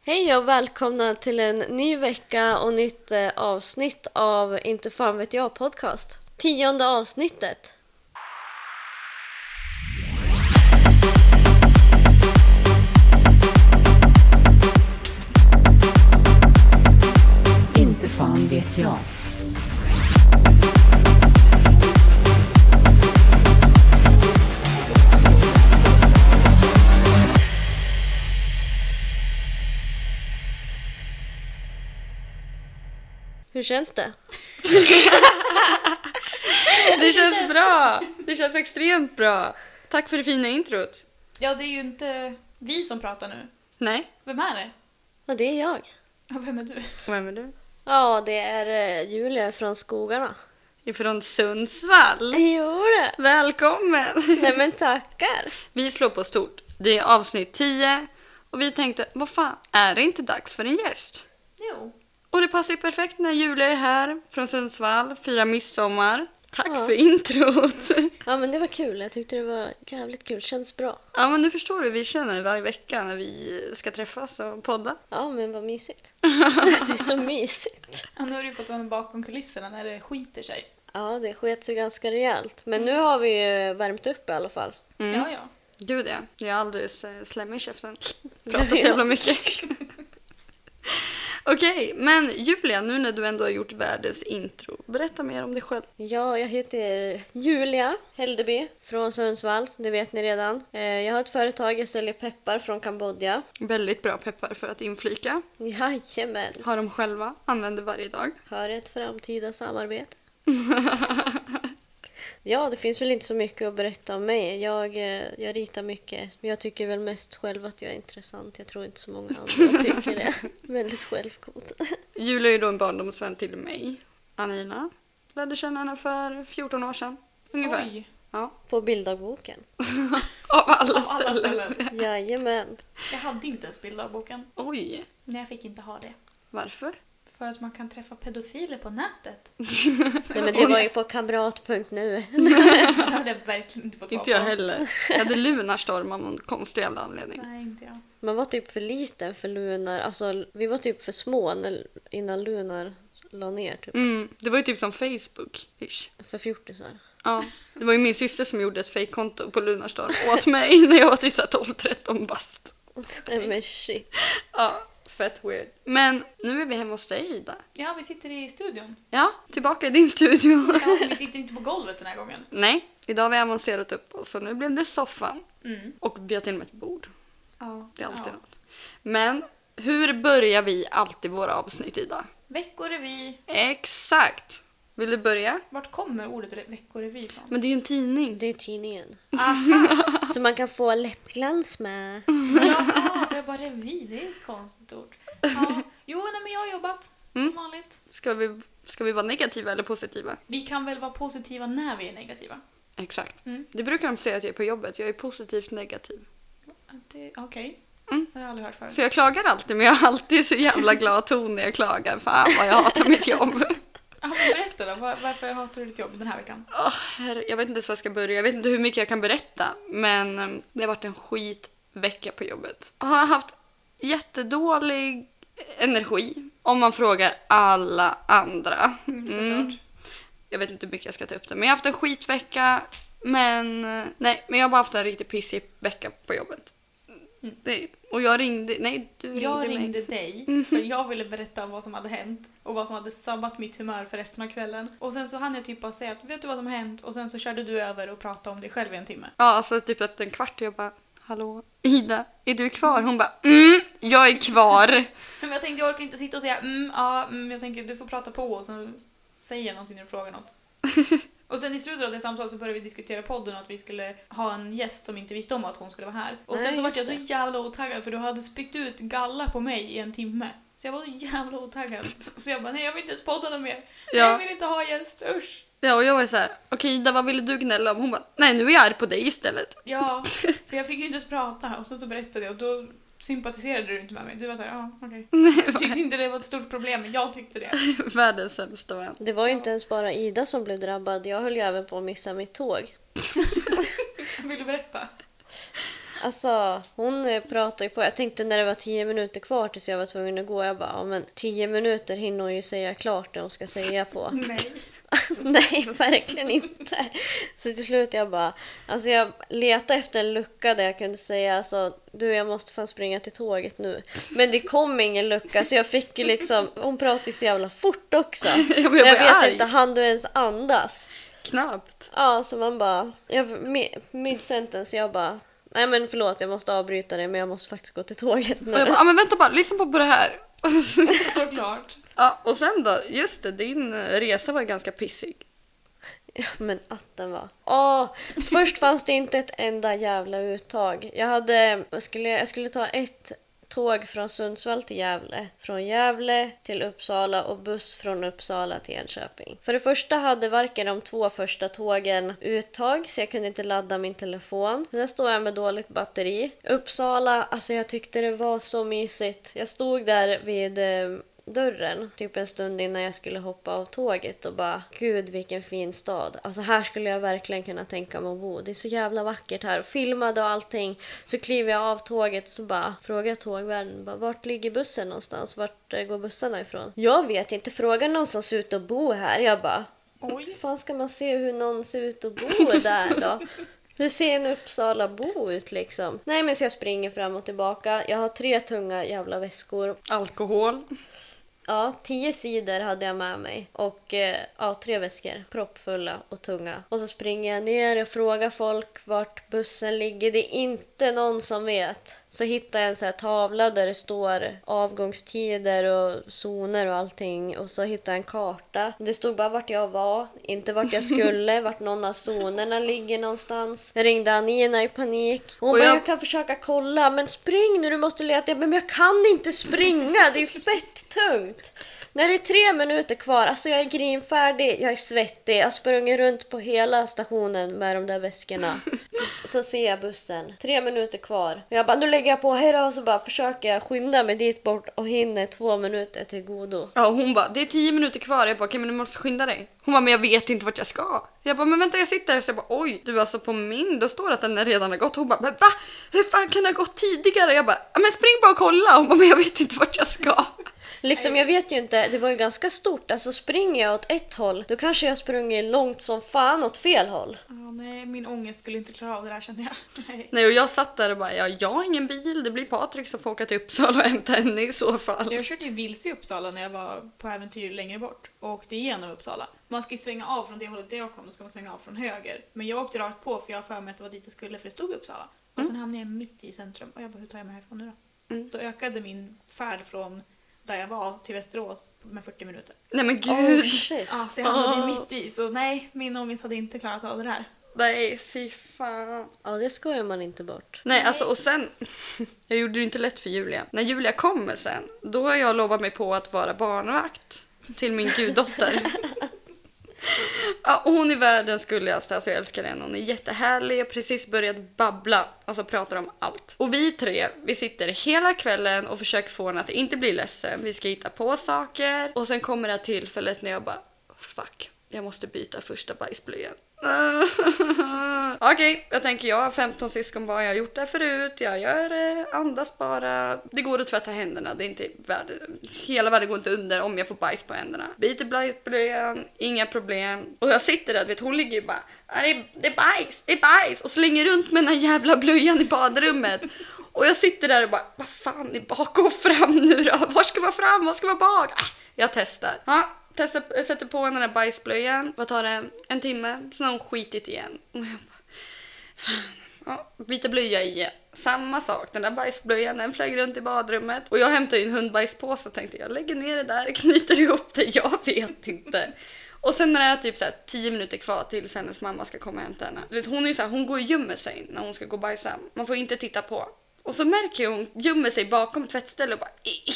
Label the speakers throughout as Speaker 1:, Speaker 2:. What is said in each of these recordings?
Speaker 1: Hej och välkomna till en ny vecka och nytt eh, avsnitt av Inte fan vet jag podcast. Tionde avsnittet.
Speaker 2: Inte fan vet jag.
Speaker 1: Hur känns det?
Speaker 3: Det känns bra! Det känns extremt bra. Tack för det fina introt.
Speaker 4: Ja, det är ju inte vi som pratar nu.
Speaker 3: Nej,
Speaker 4: Vem är det?
Speaker 1: Ja, det är jag.
Speaker 4: Ja, Vem är du?
Speaker 3: vem är du?
Speaker 1: Ja, det är eh, Julia från skogarna.
Speaker 3: Ifrån Sundsvall.
Speaker 1: Jo det.
Speaker 3: Välkommen!
Speaker 1: Nej men tackar.
Speaker 3: Vi slår på stort. Det är avsnitt 10 och vi tänkte, vad fan, är det inte dags för en gäst?
Speaker 4: Jo.
Speaker 3: Och det passar ju perfekt när Julia är här från Sundsvall, firar midsommar. Tack
Speaker 1: Ja.
Speaker 3: för introt!
Speaker 1: Ja men det var kul. Jag tyckte det var jävligt kul. Känns bra.
Speaker 3: Ja, men nu förstår du hur vi känner varje vecka när vi ska träffas och podda.
Speaker 1: Ja men vad mysigt. Det är så mysigt.
Speaker 4: Ja, nu har du ju fått vara med bakom kulisserna när det skiter sig.
Speaker 1: Ja, det sket sig ganska rejält. Men nu har vi ju värmt upp i alla fall.
Speaker 3: Mm.
Speaker 4: Ja, ja.
Speaker 3: Gud ja, jag är alldeles eh, slemmig i käften. Pratar så jävla mycket. Okej, men Julia, nu när du ändå har gjort världens intro, berätta mer om dig själv.
Speaker 1: Ja, jag heter Julia Heldeby från Sundsvall, det vet ni redan. Eh, Jag har ett företag, jag säljer peppar från Kambodja.
Speaker 3: Väldigt bra peppar för att inflika.
Speaker 1: Jajamän!
Speaker 3: Har dem själva, använder varje dag.
Speaker 1: Hör ett framtida samarbete. ja, det finns väl inte så mycket att berätta om mig. Jag, eh, jag ritar mycket. Jag tycker väl mest själv att jag är intressant. Jag tror inte så många andra tycker det. Väldigt självgod.
Speaker 3: Julia är ju då en barndomsvän till mig, Anina. Lärde känna henne för 14 år sedan, ungefär.
Speaker 4: Oj.
Speaker 3: Ja,
Speaker 1: På bilddagboken.
Speaker 3: av alla
Speaker 4: Av alla
Speaker 3: ställen.
Speaker 4: ställen.
Speaker 1: Jajamän.
Speaker 4: Jag hade inte ens bilddagboken.
Speaker 3: Oj,
Speaker 4: Nej, jag fick inte ha det.
Speaker 3: varför?
Speaker 4: För att man kan träffa pedofiler på nätet.
Speaker 1: Nej, men det var ju på kamrat.nu.
Speaker 4: Det hade jag verkligen inte fått vara
Speaker 3: Inte jag
Speaker 4: på.
Speaker 3: heller. Jag hade lunarstorm av någon konstig jävla anledning.
Speaker 4: Nej, inte jag.
Speaker 1: Man var typ för liten för Lunar. Alltså, vi var typ för små när, innan Lunar la ner. Typ.
Speaker 3: Mm, det var ju typ som Facebook. -ish.
Speaker 1: För fjortisar.
Speaker 3: Ja, det var ju min syster som gjorde ett fejkkonto på Lunarstorm åt mig när jag var typ 12-13 bast.
Speaker 1: Nej men shit.
Speaker 3: Ja, fett weird. Men nu är vi hemma hos dig Ida.
Speaker 4: Ja, vi sitter i studion.
Speaker 3: Ja, tillbaka i din studio.
Speaker 4: Ja, men vi sitter inte på golvet den här gången.
Speaker 3: Nej, idag har vi avancerat upp oss så nu blev det soffan. Och vi har till och med ett bord.
Speaker 4: Ja.
Speaker 3: Det är alltid
Speaker 4: Mm. ja.
Speaker 3: något. Men hur börjar vi alltid våra avsnitt Ida?
Speaker 4: Veckorevy.
Speaker 3: Exakt! Vill du börja?
Speaker 4: Vart kommer ordet re- veckorevy ifrån?
Speaker 3: Men det är ju en tidning.
Speaker 1: Det är tidningen. Så man kan få läppglans med.
Speaker 4: Jaha, för ah, jag bara revy, det är ett konstigt ord. Ja. Jo, nej, men jag har jobbat
Speaker 3: Mm.
Speaker 4: som vanligt.
Speaker 3: Ska vi, ska vi vara negativa eller positiva?
Speaker 4: Vi kan väl vara positiva när vi är negativa?
Speaker 3: Exakt.
Speaker 4: Mm.
Speaker 3: Det brukar de säga att jag är på jobbet. Jag är positivt negativ.
Speaker 4: Det- Okej.
Speaker 3: Mm.
Speaker 4: Det har jag aldrig hört förut.
Speaker 3: För jag klagar alltid, men jag har alltid så jävla glad ton när jag klagar. Fan vad jag hatar mitt jobb.
Speaker 4: Ja, men berätta då, var- varför hatar du ditt jobb den här veckan?
Speaker 3: Åh, herre, jag vet inte ens var jag ska börja. Jag vet inte hur mycket jag kan berätta. Men eh, det har varit en skitvecka på jobbet. Jag har haft jättedålig energi. Om man frågar alla andra. Mm.
Speaker 4: såklart.
Speaker 3: Jag vet inte hur mycket jag ska ta upp det. Men jag har haft en skitvecka. Men eh, nej, men jag har bara haft en riktigt pissig vecka på jobbet. Det, och Mm. jag ringde... Nej, du Mm. ringde
Speaker 4: Jag
Speaker 3: mig. Mm.
Speaker 4: ringde dig för jag ville berätta vad som hade hänt och vad som hade sabbat mitt humör för resten av kvällen. Och sen så hann jag typ bara säga att vet du vad som har hänt? Och sen så körde du över och pratade om dig själv i en timme.
Speaker 3: Ja, alltså typ efter en kvart jag bara Hallå, Ida, är du kvar? Hon bara mm, jag är kvar.
Speaker 4: Men jag tänkte jag orkar inte sitta och säga mm, ja, mm, jag tänker du får prata på och sen säger jag någonting när du frågar något. Och sen i slutet av det samtalet så började vi diskutera podden och att vi skulle ha en gäst som inte visste om att hon skulle vara här. Och sen
Speaker 1: Nej,
Speaker 4: så vart jag
Speaker 1: just
Speaker 4: så
Speaker 1: det.
Speaker 4: jävla otaggad för du hade spytt ut galla på mig i en timme. Så jag var så jävla otaggad. Så jag bara nej jag vill inte ens podda någon mer. Nej,
Speaker 3: Ja.
Speaker 4: Jag vill inte ha gäst, usch.
Speaker 3: Ja, och jag var så här, okej Ida, vad ville du gnälla om? Hon bara, nej nu är jag arg på dig istället.
Speaker 4: Ja, för jag fick ju inte ens prata och sen så berättade jag och då sympatiserade du inte med mig. Du var såhär, ja okej. Du tyckte inte det var ett stort problem men jag tyckte det.
Speaker 3: Världens sämsta vän.
Speaker 1: Det var ju inte ens bara Ida som blev drabbad. Jag höll ju även på att missa mitt tåg.
Speaker 4: Vill du berätta?
Speaker 1: Alltså hon eh, pratade ju på. Jag tänkte när det var tio minuter kvar tills jag var tvungen att gå. Jag bara, ja men tio minuter hinner hon ju säga klart det hon ska säga på.
Speaker 4: Nej.
Speaker 1: Nej, verkligen inte. Så till slut jag bara, alltså jag letade efter en lucka där jag kunde säga alltså du jag måste fan springa till tåget nu. Men det kom ingen lucka så jag fick ju liksom, hon pratade ju så jävla fort också.
Speaker 3: men jag
Speaker 1: Och jag
Speaker 3: var
Speaker 1: vet
Speaker 3: arg.
Speaker 1: inte, hann du ens andas?
Speaker 3: Knappt.
Speaker 1: Ja, så man bara, jag, mi- mid sentence jag bara, nej men förlåt jag måste avbryta det men jag måste faktiskt gå till tåget
Speaker 3: Och jag
Speaker 1: nu.
Speaker 3: bara, ah, men vänta bara, lyssna på, på det här.
Speaker 4: Såklart.
Speaker 3: ja, och sen då, just det, din resa var ju ganska pissig.
Speaker 1: Ja, Men att den var. Åh, först fanns det inte ett enda jävla uttag. Jag, hade, jag, skulle, jag skulle ta ett tåg från Sundsvall till Gävle, från Gävle till Uppsala och buss från Uppsala till Enköping. För det första hade varken de två första tågen uttag så jag kunde inte ladda min telefon. Sen står jag med dåligt batteri. Uppsala, alltså jag tyckte det var så mysigt. Jag stod där vid eh, dörren typ en stund innan jag skulle hoppa av tåget och bara gud vilken fin stad. Alltså här skulle jag verkligen kunna tänka mig att bo. Det är så jävla vackert här. Och filmade och allting. Så kliver jag av tåget så bara frågar tågvärden bara, vart ligger bussen någonstans? Vart eh, går bussarna ifrån? Jag vet inte. Fråga någon som ser ut att bo här. Jag bara hur
Speaker 4: Oj.
Speaker 1: fan ska man se hur någon ser ut och bor där då? Hur ser en Uppsalabo ut liksom? Nej men så jag springer fram och tillbaka. Jag har tre tunga jävla väskor
Speaker 3: Alkohol.
Speaker 1: Ja, tio sidor hade jag med mig och eh, ja, tre väskor, proppfulla och tunga. Och så springer jag ner och frågar folk vart bussen ligger. Det är inte någon som vet. Så hittar jag en sån här tavla där det står avgångstider och zoner och allting. Och så hittar jag en karta. Det stod bara vart jag var, inte vart jag skulle, vart någon av zonerna ligger någonstans. Jag ringde Anina i panik. Hon
Speaker 3: Och
Speaker 1: bara,
Speaker 3: jag-
Speaker 1: jag kan försöka kolla, men spring nu, du måste leta. Jag bara, Men jag kan inte springa, det är ju fett tungt. När det är tre minuter kvar, alltså jag är grinfärdig, jag är svettig, jag har sprungit runt på hela stationen med de där väskorna. Så, så ser jag bussen, tre minuter kvar. Och jag bara, nu lägger jag på, hejdå, och så bara försöker jag skynda mig dit bort och hinner två minuter till godo.
Speaker 3: Ja, och hon bara, det är tio minuter kvar. Jag bara, okej men du måste skynda dig. Hon bara, men jag vet inte vart jag ska. Jag bara, men vänta jag sitter här. Så jag bara, oj, du alltså på min, då står det att den redan har gått. Hon bara, men va? Hur fan kan det ha gått tidigare? Jag bara, "Ja, men spring bara och kolla. Hon bara, men jag vet inte vart jag ska.
Speaker 1: Liksom jag vet ju inte, det var ju ganska stort, alltså springer jag åt ett håll då kanske jag sprungit långt som fan åt fel håll.
Speaker 4: Ja, nej, min ångest skulle inte klara av det där känner jag. Nej.
Speaker 3: Nej, och jag satt där och bara, ja, jag har ingen bil. Det blir Patrik som får åka till Uppsala och hämta henne i så fall.
Speaker 4: Jag körde ju vilse i Uppsala när jag var på äventyr längre bort och åkte igenom Uppsala. Man ska ju svänga av från det hållet där jag kom, då ska man svänga av från höger. Men jag åkte rakt på för jag har för mig att det var dit jag skulle för det stod Uppsala. Och sen hamnade jag mitt i centrum och jag bara, hur tar jag mig härifrån nu då? Då ökade min färd från där jag var till Västerås med 40 minuter.
Speaker 3: Nej men
Speaker 1: Oh,
Speaker 3: gud.
Speaker 1: shit.
Speaker 4: Ah, så jag hamnade ju
Speaker 3: Ah.
Speaker 4: mitt i, så nej, min ångest hade inte klarat av det där.
Speaker 3: Nej, fy fan.
Speaker 1: Ja, det skojar man inte bort.
Speaker 3: Nej, alltså och sen... Jag gjorde det inte lätt för Julia. När Julia kommer sen, då har jag lovat mig på att vara barnvakt till min guddotter. Ja, och hon är världens gulligaste, alltså jag älskar henne. Hon är jättehärlig, jag har precis börjat babbla, alltså pratar om allt. Och vi tre, vi sitter hela kvällen och försöker få henne att inte bli ledsen. Vi ska hitta på saker och sen kommer det här tillfället när jag bara fuck, jag måste byta första bajsblöjan. Okej, jag tänker jag har 15 syskonbarn, jag har gjort det här förut, jag gör det, andas bara. Det går att tvätta händerna, det är inte världen, hela världen går inte under om jag får bajs på händerna. Byter bajsblöjan, inga problem. Och jag sitter där, du vet hon ligger ju bara, "Ah, det är, det är bajs, det är bajs och slänger runt med den här jävla blöjan i badrummet. Och jag sitter där och bara, vad fan är bak och fram nu då? Var ska vara fram, var ska vara bak? Ah, jag testar. Ja, testar, jag sätter på henne den här bajsblöjan. Vad tar det? En timme? Sen har hon skitit igen. Och jag bara, fan. Ja, byter blöja igen. Samma sak, den där bajsblöjan den flög runt i badrummet. Och jag hämtade ju en hundbajspåse och tänkte jag lägger ner det där, knyter ihop det, jag vet inte. Och sen när det är typ så här 10 minuter kvar tills hennes mamma ska komma och hämta henne. Du vet, hon, är ju så här, hon går och gömmer sig när hon ska gå och bajsa. Man får inte titta på. Och så märker jag hon gömmer sig bakom tvättstället och bara "Ih,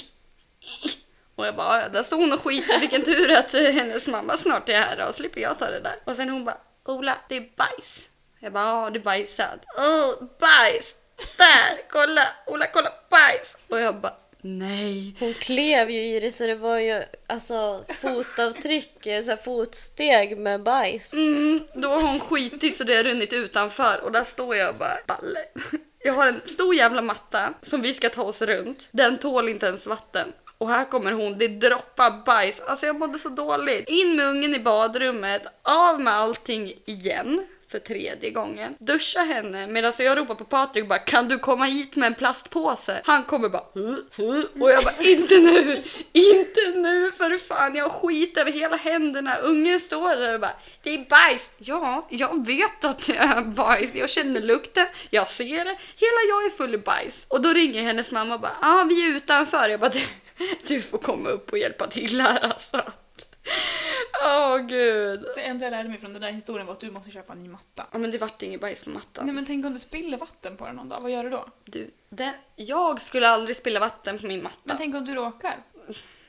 Speaker 3: och jag bara, "Ja, där står hon och skiter, vilken tur att eh, hennes mamma snart är här då, slipper jag ta det där. Och sen hon bara, Ola, det är bajs. Jag bara, ja du bajsad. Åh, bajs! Där, kolla! Ola, kolla bajs! Och jag bara, nej.
Speaker 1: Hon klev ju i det så det var ju alltså, fotavtryck, eh, så här, fotsteg med bajs.
Speaker 3: Mm, då har hon skitit så det har runnit utanför och där står jag och bara, balle. Jag har en stor jävla matta som vi ska ta oss runt. Den tål inte ens vatten. Och här kommer hon, det droppar bajs. Alltså jag mådde så dåligt. In med ungen i badrummet, av med allting igen för tredje gången. Duscha henne medan jag ropar på Patrik och bara kan du komma hit med en plastpåse? Han kommer bara "Hu, hu." och jag bara inte nu, inte nu för fan jag har skit över hela händerna. Ungen står där och bara det är bajs. Ja, jag vet att det är bajs. Jag känner lukten, jag ser det. Hela jag är full i bajs och då ringer hennes mamma och bara ah, vi är utanför. Jag bara du, du får komma upp och hjälpa till här alltså. Åh gud.
Speaker 4: Det enda jag lärde mig från den där historien var att du måste köpa en ny matta.
Speaker 3: Ja men det vart inget bajs på mattan.
Speaker 4: Nej men tänk om du spiller vatten på den någon dag, vad gör du då?
Speaker 3: Du, det, jag skulle aldrig spilla vatten på min matta.
Speaker 4: Men tänk om du råkar?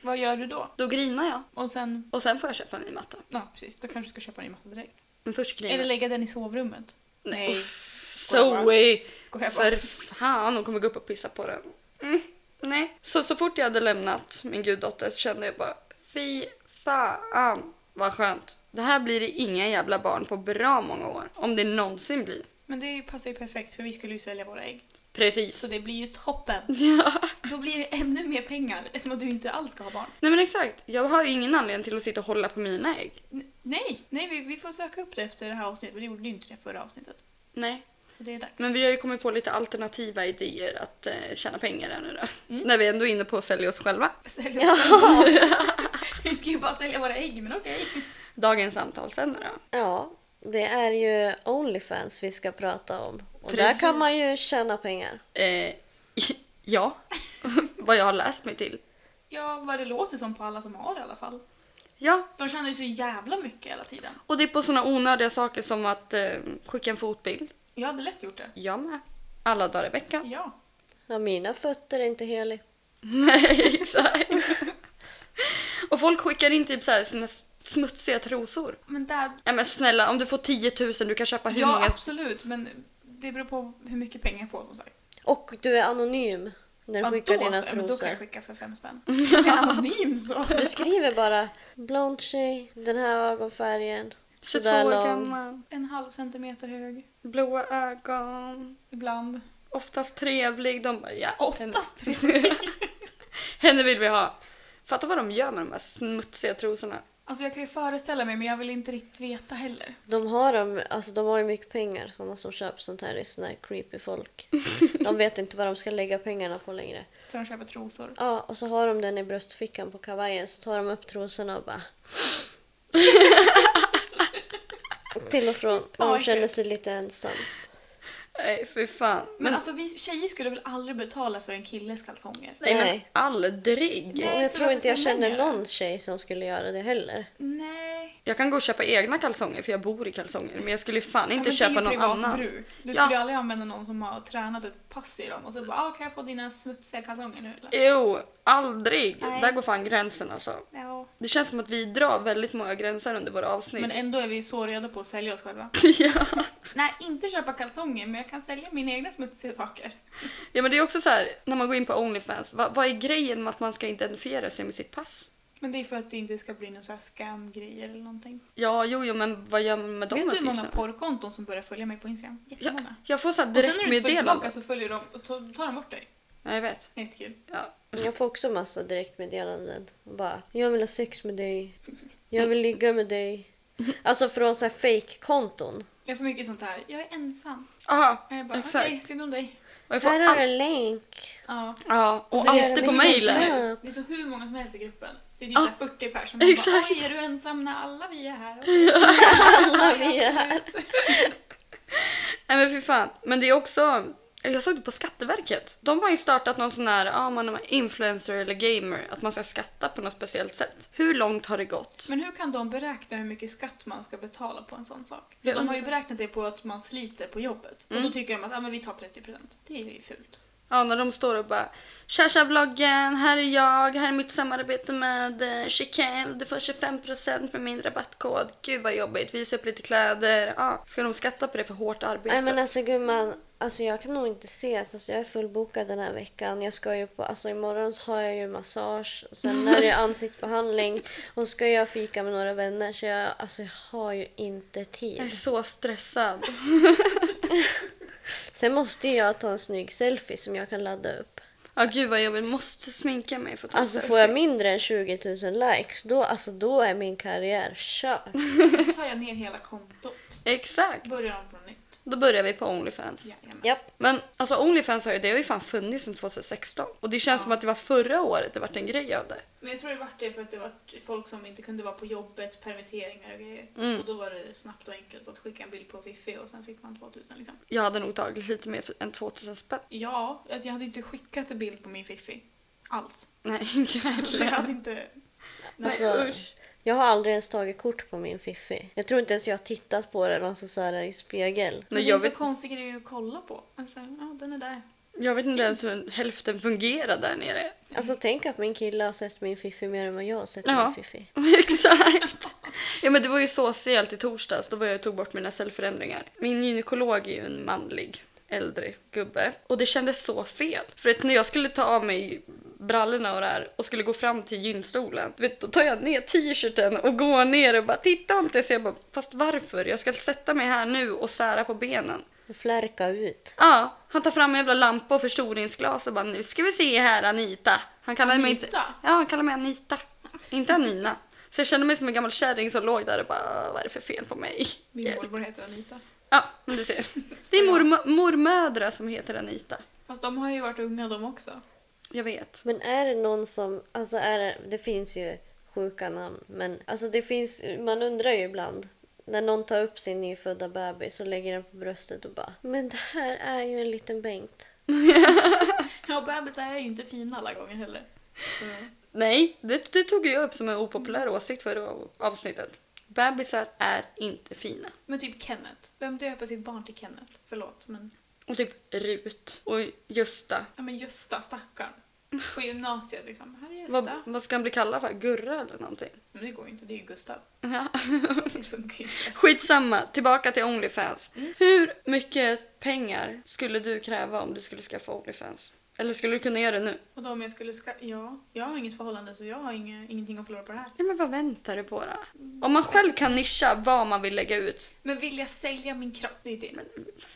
Speaker 4: Vad gör du då?
Speaker 3: Då grinar jag.
Speaker 4: Och sen...
Speaker 3: Och sen får jag köpa en ny matta.
Speaker 4: Ja precis, då kanske du ska köpa en ny matta direkt.
Speaker 3: Men först griner
Speaker 4: Eller
Speaker 3: jag.
Speaker 4: lägga den i sovrummet.
Speaker 3: Nej.
Speaker 4: Nej.
Speaker 3: Zoe!
Speaker 4: Skojar bara.
Speaker 3: För fan, hon kommer gå upp och pissa på den. Mm, nej. Så, så fort jag hade lämnat min guddotter så kände jag bara fy fan vad skönt. Det här blir det inga jävla barn på bra många år. Om det någonsin blir.
Speaker 4: Men det passar ju perfekt för vi skulle ju sälja våra ägg.
Speaker 3: Precis.
Speaker 4: Så det blir ju toppen.
Speaker 3: Ja.
Speaker 4: Då blir det ännu mer pengar eftersom att du inte alls ska ha barn.
Speaker 3: Nej men exakt. Jag har ju ingen anledning till att sitta och hålla på mina ägg.
Speaker 4: N- nej, nej vi, vi får söka upp det efter det här avsnittet. Vi gjorde ju inte det förra avsnittet.
Speaker 3: Nej.
Speaker 4: Så det är dags.
Speaker 3: Men vi har ju kommit på lite alternativa idéer att eh, tjäna pengar här nu då.
Speaker 4: Mm.
Speaker 3: När vi ändå är inne på att sälja oss själva.
Speaker 4: Sälja oss själva. Vi ska ju bara sälja våra ägg, men okej.
Speaker 3: Dagens samtalsämne då.
Speaker 1: Ja, det är ju Onlyfans vi ska prata om. Och
Speaker 3: Precis.
Speaker 1: där kan man ju tjäna pengar.
Speaker 3: Eh, ja, vad jag har läst mig till.
Speaker 4: Ja, vad det låter som på alla som har i alla fall.
Speaker 3: Ja,
Speaker 4: De tjänar ju så jävla mycket hela tiden.
Speaker 3: och det är på sådana onödiga saker som att eh, skicka en fotbild.
Speaker 4: Jag hade lätt gjort det.
Speaker 3: Jag med. Alla dagar i veckan.
Speaker 4: Ja.
Speaker 1: Ja, mina fötter är inte helig.
Speaker 4: Mm.
Speaker 3: Nej, exakt. och folk skickar in typ så här sina smutsiga trosor.
Speaker 4: Men där...
Speaker 3: Nej men snälla, om du får 10 000 du kan köpa hur
Speaker 4: Ja,
Speaker 3: många...
Speaker 4: absolut. Men det beror på hur mycket pengar jag får som sagt.
Speaker 1: Och du är anonym när du
Speaker 4: Ja,
Speaker 1: skickar
Speaker 4: då
Speaker 1: dina
Speaker 4: så. Ja, men Då kan jag
Speaker 1: trosor.
Speaker 4: skicka för fem spänn. Jag är anonym så.
Speaker 1: Du skriver bara blond tjej, den här ögonfärgen,
Speaker 3: 22
Speaker 1: sådär
Speaker 3: år
Speaker 1: lång.
Speaker 3: gammal,
Speaker 4: En halv centimeter hög.
Speaker 3: blåa ögon.
Speaker 4: Ibland.
Speaker 3: Oftast trevlig. De bara, ja, Henne,
Speaker 4: Oftast trevlig.
Speaker 3: henne vill vi ha. Fatta vad de gör med de här smutsiga trosorna.
Speaker 4: Alltså jag kan ju föreställa mig men jag vill inte riktigt veta heller.
Speaker 1: De har, dem, alltså de har ju mycket pengar, sådana som köper sånt här är såna här creepy folk. De vet inte vad de ska lägga pengarna på längre.
Speaker 4: Så de köper trosor.
Speaker 1: Ja, och så har de den i bröstfickan på kavajen så tar de upp trosorna och bara... Till och från, när
Speaker 4: Ja,
Speaker 1: hon
Speaker 4: äckligt.
Speaker 1: känner sig lite ensam.
Speaker 3: Nej, fy fan.
Speaker 4: Men, alltså vi tjejer skulle väl aldrig betala för en killes kalsonger?
Speaker 3: nej, men
Speaker 1: nej.
Speaker 3: aldrig.
Speaker 1: Och
Speaker 4: Nej.
Speaker 1: jag
Speaker 4: så
Speaker 1: tror
Speaker 4: varför
Speaker 1: inte jag
Speaker 4: ska män
Speaker 1: känner
Speaker 4: göra det?
Speaker 1: någon tjej som skulle göra det heller.
Speaker 4: Nej.
Speaker 3: Jag kan gå och köpa egna kalsonger för jag bor i kalsonger. Men jag skulle ju fan inte
Speaker 4: Ja, men det är ju
Speaker 3: köpa någon
Speaker 4: privat
Speaker 3: annans.
Speaker 4: bruk. Du
Speaker 3: Ja.
Speaker 4: skulle ju aldrig använda någon som har tränat ett pass i dem och så bara ah, kan jag få dina smutsiga kalsonger nu eller?
Speaker 3: Jo, aldrig.
Speaker 4: Nej.
Speaker 3: Där går fan gränsen alltså.
Speaker 4: Ja.
Speaker 3: Det känns som att vi drar väldigt många gränser under våra avsnitt.
Speaker 4: Men ändå är vi så redo på att sälja oss själva.
Speaker 3: ja.
Speaker 4: Nej, inte köpa kalsonger men jag kan sälja mina egna smutsiga saker.
Speaker 3: ja, men det är också så här när man går in på Onlyfans. Vad, vad är grejen med att man ska identifiera sig med sitt pass?
Speaker 4: Men det är för att det inte ska bli några scam-grejer eller någonting.
Speaker 3: Ja, jo, jo, men vad gör man med de
Speaker 4: Vet du hur
Speaker 3: uppgifterna?
Speaker 4: många porrkonton som börjar följa mig på Instagram?
Speaker 3: jag,
Speaker 4: Jättemånga.
Speaker 3: jag får så här
Speaker 4: Och sen när du inte följer
Speaker 3: direktmeddelande.
Speaker 4: tillbaka så följer de och tar, tar de bort dig.
Speaker 3: Ja, jag vet.
Speaker 4: Det är Jättekul.
Speaker 3: Ja.
Speaker 1: Jag får också massa direktmeddelanden. Bara, jag vill ha sex med dig. Jag vill ligga med dig. Alltså från så här fake-konton.
Speaker 4: Jag får mycket sånt här. Jag är ensam.
Speaker 3: Aha,
Speaker 4: Och jag bara,
Speaker 3: exakt.
Speaker 4: okej, synd om dig.
Speaker 3: Och jag får
Speaker 1: Här har du
Speaker 3: all...
Speaker 1: en länk.
Speaker 4: Ja.
Speaker 3: Ja, och,
Speaker 1: Och så gör
Speaker 3: alltid
Speaker 1: de
Speaker 3: på
Speaker 1: en
Speaker 3: mejlen.
Speaker 1: sensor.
Speaker 4: Det är så hur många som helst i gruppen. Det är typ
Speaker 3: Ja.
Speaker 4: så här 40 personer. som bara,
Speaker 3: Exakt.
Speaker 4: Oj, är du ensam när alla vi är här?
Speaker 1: Alla vi är här.
Speaker 3: Nej men för fan. Men det är också... Jag såg det på Skatteverket. De har ju startat någon sån här, ja man är influencer eller gamer, att man ska skatta på något speciellt sätt. Hur långt har det gått?
Speaker 4: Men hur kan de beräkna hur mycket skatt man ska betala på en sån sak? För
Speaker 3: Jag
Speaker 4: de har
Speaker 3: undrar-
Speaker 4: ju beräknat det på att man sliter på jobbet. Och då tycker de att ah, men vi tar 30%. Det är ju fult.
Speaker 3: Ja, när de står och bara Tja tja vloggen, här är jag, här är mitt samarbete med eh, Chiquel, du får 25% med min rabattkod. Gud vad jobbigt, visa upp lite kläder. Ja, ska de skatta på det för hårt arbete?
Speaker 1: Nej men alltså gumman, alltså jag kan nog inte ses. Alltså, jag är fullbokad den här veckan. Jag ska ju på, alltså imorgon så har jag ju massage. Sen är det ju ansiktsbehandling. Och ska jag fika med några vänner så jag, alltså, jag har ju inte
Speaker 3: Jag är
Speaker 1: tid.
Speaker 3: så stressad.
Speaker 1: Sen måste ju jag ta en snygg selfie som jag kan ladda upp.
Speaker 3: Ja, gud vad jobbigt. Måste sminka mig för att ta en
Speaker 1: Alltså
Speaker 3: selfie.
Speaker 1: får jag mindre än 20 000 likes, då, alltså, då är min karriär körd.
Speaker 4: Nu tar jag ner hela kontot.
Speaker 3: Exakt.
Speaker 4: Börjar om från nytt.
Speaker 3: Då börjar vi på Onlyfans.
Speaker 4: Jajamän.
Speaker 1: Japp.
Speaker 3: Men alltså Onlyfans har ju, det har ju fan funnits sedan 2016. Och det känns som att det var förra året det vart en grej av det.
Speaker 4: Men jag tror det vart det för att det var folk som inte kunde vara på jobbet, permitteringar och grejer.
Speaker 3: Mm.
Speaker 4: Och då var det snabbt och enkelt att skicka en bild på Fifi och sen fick man 2000 liksom.
Speaker 3: Jag hade nog tagit lite mer för- än 2000 spänn.
Speaker 4: Ja, alltså jag hade inte skickat en bild på min Fifi. Alls.
Speaker 3: Nej, inte
Speaker 4: Så jag
Speaker 3: heller.
Speaker 4: hade inte... Nej.
Speaker 1: Alltså,
Speaker 3: usch.
Speaker 1: jag har aldrig ens tagit kort på min Fiffi. Jag tror inte ens jag har tittat på den alltså, så här, i spegel.
Speaker 4: Men
Speaker 3: Men
Speaker 4: det är
Speaker 3: jag,
Speaker 4: så
Speaker 3: vet,
Speaker 4: konstig grej att kolla på. Alltså, ja den är där.
Speaker 3: jag vet inte ens hur hälften fungerar där nere.
Speaker 1: Alltså tänk att min kille har sett min Fiffi mer än vad jag har sett
Speaker 3: Ja.
Speaker 1: min Fiffi.
Speaker 3: Exakt! Ja men det var ju så sent i torsdags, då var jag och tog bort mina cellförändringar. Min gynekolog är ju en manlig äldre gubbe och det kändes så fel. För att när jag skulle ta av mig brallorna och det här och skulle gå fram till gynstolen, du vet, då tar jag ner t-shirten och går ner och bara titta inte så jag bara fast varför? Jag ska sätta mig här nu och sära på benen.
Speaker 1: Flärka ut.
Speaker 3: Ja, han tar fram en jävla lampa och förstoringsglas och bara nu ska vi se här Anita. Han kallar mig inte...
Speaker 4: Anita?
Speaker 3: Ja, han kallar mig Anita. Inte Anina. Så jag kände mig som en gammal kärring som låg där och bara vad är det för fel på mig?
Speaker 4: Min morbror heter Anita.
Speaker 3: Ja, men du ser. Det är mormö- mormödrar som heter Anita.
Speaker 4: Fast de har ju varit unga de också.
Speaker 3: Jag vet.
Speaker 1: Men är det någon som, alltså är det, det finns ju sjuka namn, men alltså det finns, man undrar ju ibland. När någon tar upp sin nyfödda bebis och lägger den på bröstet och bara Men det här är ju en liten Bengt.
Speaker 4: Ja, bebisar är ju inte fina alla gånger heller.
Speaker 3: Nej, det, det tog jag upp som en opopulär åsikt förra avsnittet. Bebisar är inte fina.
Speaker 4: Men typ Kenneth. Vem döper sitt barn till Kenneth? Förlåt, men...
Speaker 3: Och typ Rut och Gösta.
Speaker 4: Ja, men Gösta, stackarn. På gymnasiet liksom. Här är Gösta.
Speaker 3: Vad, vad ska han bli kallad för? Gurra eller någonting?
Speaker 4: Men det går ju inte, det är ju Gustav.
Speaker 3: Ja.
Speaker 4: Det funkar ju inte.
Speaker 3: Skitsamma, tillbaka till Onlyfans.
Speaker 4: Mm.
Speaker 3: Hur mycket pengar skulle du kräva om du skulle skaffa Onlyfans? Eller skulle du kunna göra det nu?
Speaker 4: Och då om jag skulle ska... Ja, jag har inget förhållande så jag har inge, ingenting att förlora på det här.
Speaker 3: Ja, men vad väntar du på då? Om man själv kan nischa vad man vill lägga ut.
Speaker 4: Men vill jag sälja min kropp? Det är det.